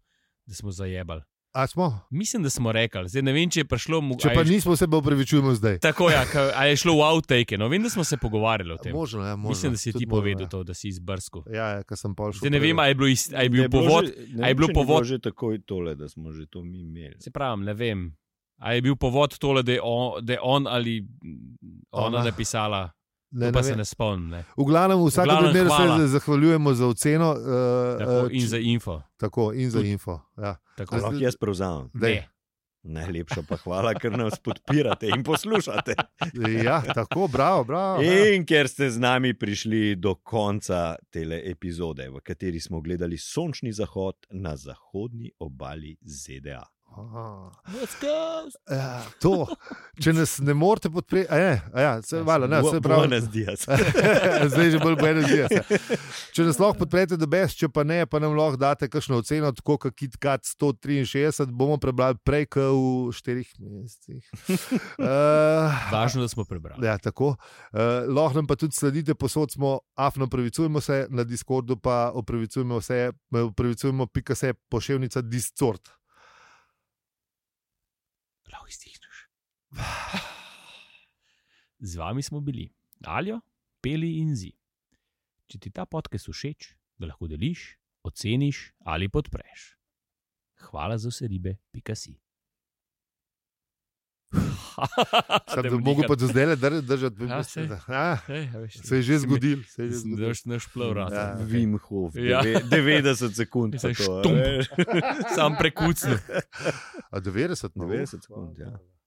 Speaker 3: da smo zajebali.
Speaker 1: a smo?
Speaker 3: Mislim, da smo rekli, zdaj ne vem, če je prišlo. mo-
Speaker 1: Če
Speaker 3: a
Speaker 1: pa
Speaker 3: je šlo-
Speaker 1: nismo, se pa upravičujemo zdaj.
Speaker 3: Tako ja, ka- a je šlo v outtake. No, vem, da smo se pogovarjali o tem.
Speaker 1: Možno, ja, možno.
Speaker 3: Mislim, da si
Speaker 1: Tudi
Speaker 3: ti
Speaker 1: možno,
Speaker 3: povedal
Speaker 1: ja.
Speaker 3: to, da si izbrskal.
Speaker 1: Ja, ja ker sem pol šel.
Speaker 3: Zdaj ne vem,
Speaker 1: prej.
Speaker 3: ali je, bilo ist, a je bil povod.
Speaker 2: Že, ne
Speaker 3: a je
Speaker 2: vem,
Speaker 3: bilo
Speaker 2: če ni
Speaker 3: povod-
Speaker 2: Že takoj tole, da smo že to mi imeli.
Speaker 3: Se pravi, ne vem. A je bil povod tole, da je on, da je on ali ona,
Speaker 1: Ona.
Speaker 3: ona napisala,
Speaker 1: Ne,
Speaker 3: ne,
Speaker 1: ne
Speaker 3: pa se
Speaker 1: vem.
Speaker 3: ne spomnim. Ne.
Speaker 1: V glavnem, v vsakem
Speaker 3: glavnem,
Speaker 1: primeru
Speaker 3: hvala.
Speaker 1: se zahvaljujemo za oceno. Uh,
Speaker 3: Tako, in za
Speaker 1: info.
Speaker 3: info.
Speaker 1: Tako, in za
Speaker 3: Tudi-
Speaker 1: info. Ja.
Speaker 3: Tako.
Speaker 2: Ampak jaz prevzamem.
Speaker 1: Daj.
Speaker 3: Ne.
Speaker 2: Najlepša pa hvala, ker nas podpirate in
Speaker 1: (laughs)
Speaker 2: poslušate.
Speaker 1: ja, tako, bravo, bravo. ja.
Speaker 2: In ker ste z nami prišli do konca tele epizode, v kateri smo gledali sončni zahod na zahodni obali ZDA.
Speaker 1: Aha.
Speaker 6: Let's go.
Speaker 1: Ja, to, če nas ne morete podpreti, a ne, a ja, se, vala, ne, se pravi,
Speaker 2: Buenos dias.
Speaker 1: (laughs) zdaj že bolj bojno zdi. Če nas lahko podprete, da bes, če pa ne, pa nam lahko date kakšno oceno, tako kot KitKat 163, bomo prebrali prej, kot v štirih mesecih. Uh,
Speaker 3: Važno, da smo prebrali.
Speaker 1: Ja, tako. Uh, lahko nam pa tudi sledite, posod smo, afno opravičujemo se, na Discordu pa opravičujemo vse, opravičujemo, pika se, pošiljka Discord.
Speaker 3: Lahko izdihneš. (sighs) Z vami smo bili, alijo, peli in zi. Če ti ta podcast všeč, ga lahko deliš, oceniš ali
Speaker 1: (laughs)
Speaker 3: podpreš. Hvala za vse ribe, pika si.
Speaker 1: Sam bi mogel pa do zdaj le držati. bi
Speaker 3: Ja,
Speaker 1: bil-
Speaker 3: sej.
Speaker 1: Ah, Se je že zgodil, se je že zgodil.
Speaker 3: Znaš, znaš plav rad.
Speaker 1: (laughs) Ja.
Speaker 2: Vim Hof,
Speaker 3: Ja.
Speaker 2: deve- 90 sekund. eh,
Speaker 3: Mislim,
Speaker 2: pa to, a
Speaker 3: štump.
Speaker 2: veš.
Speaker 3: Sam prekucno.
Speaker 1: A 90, no.
Speaker 2: 90 sekund, ja.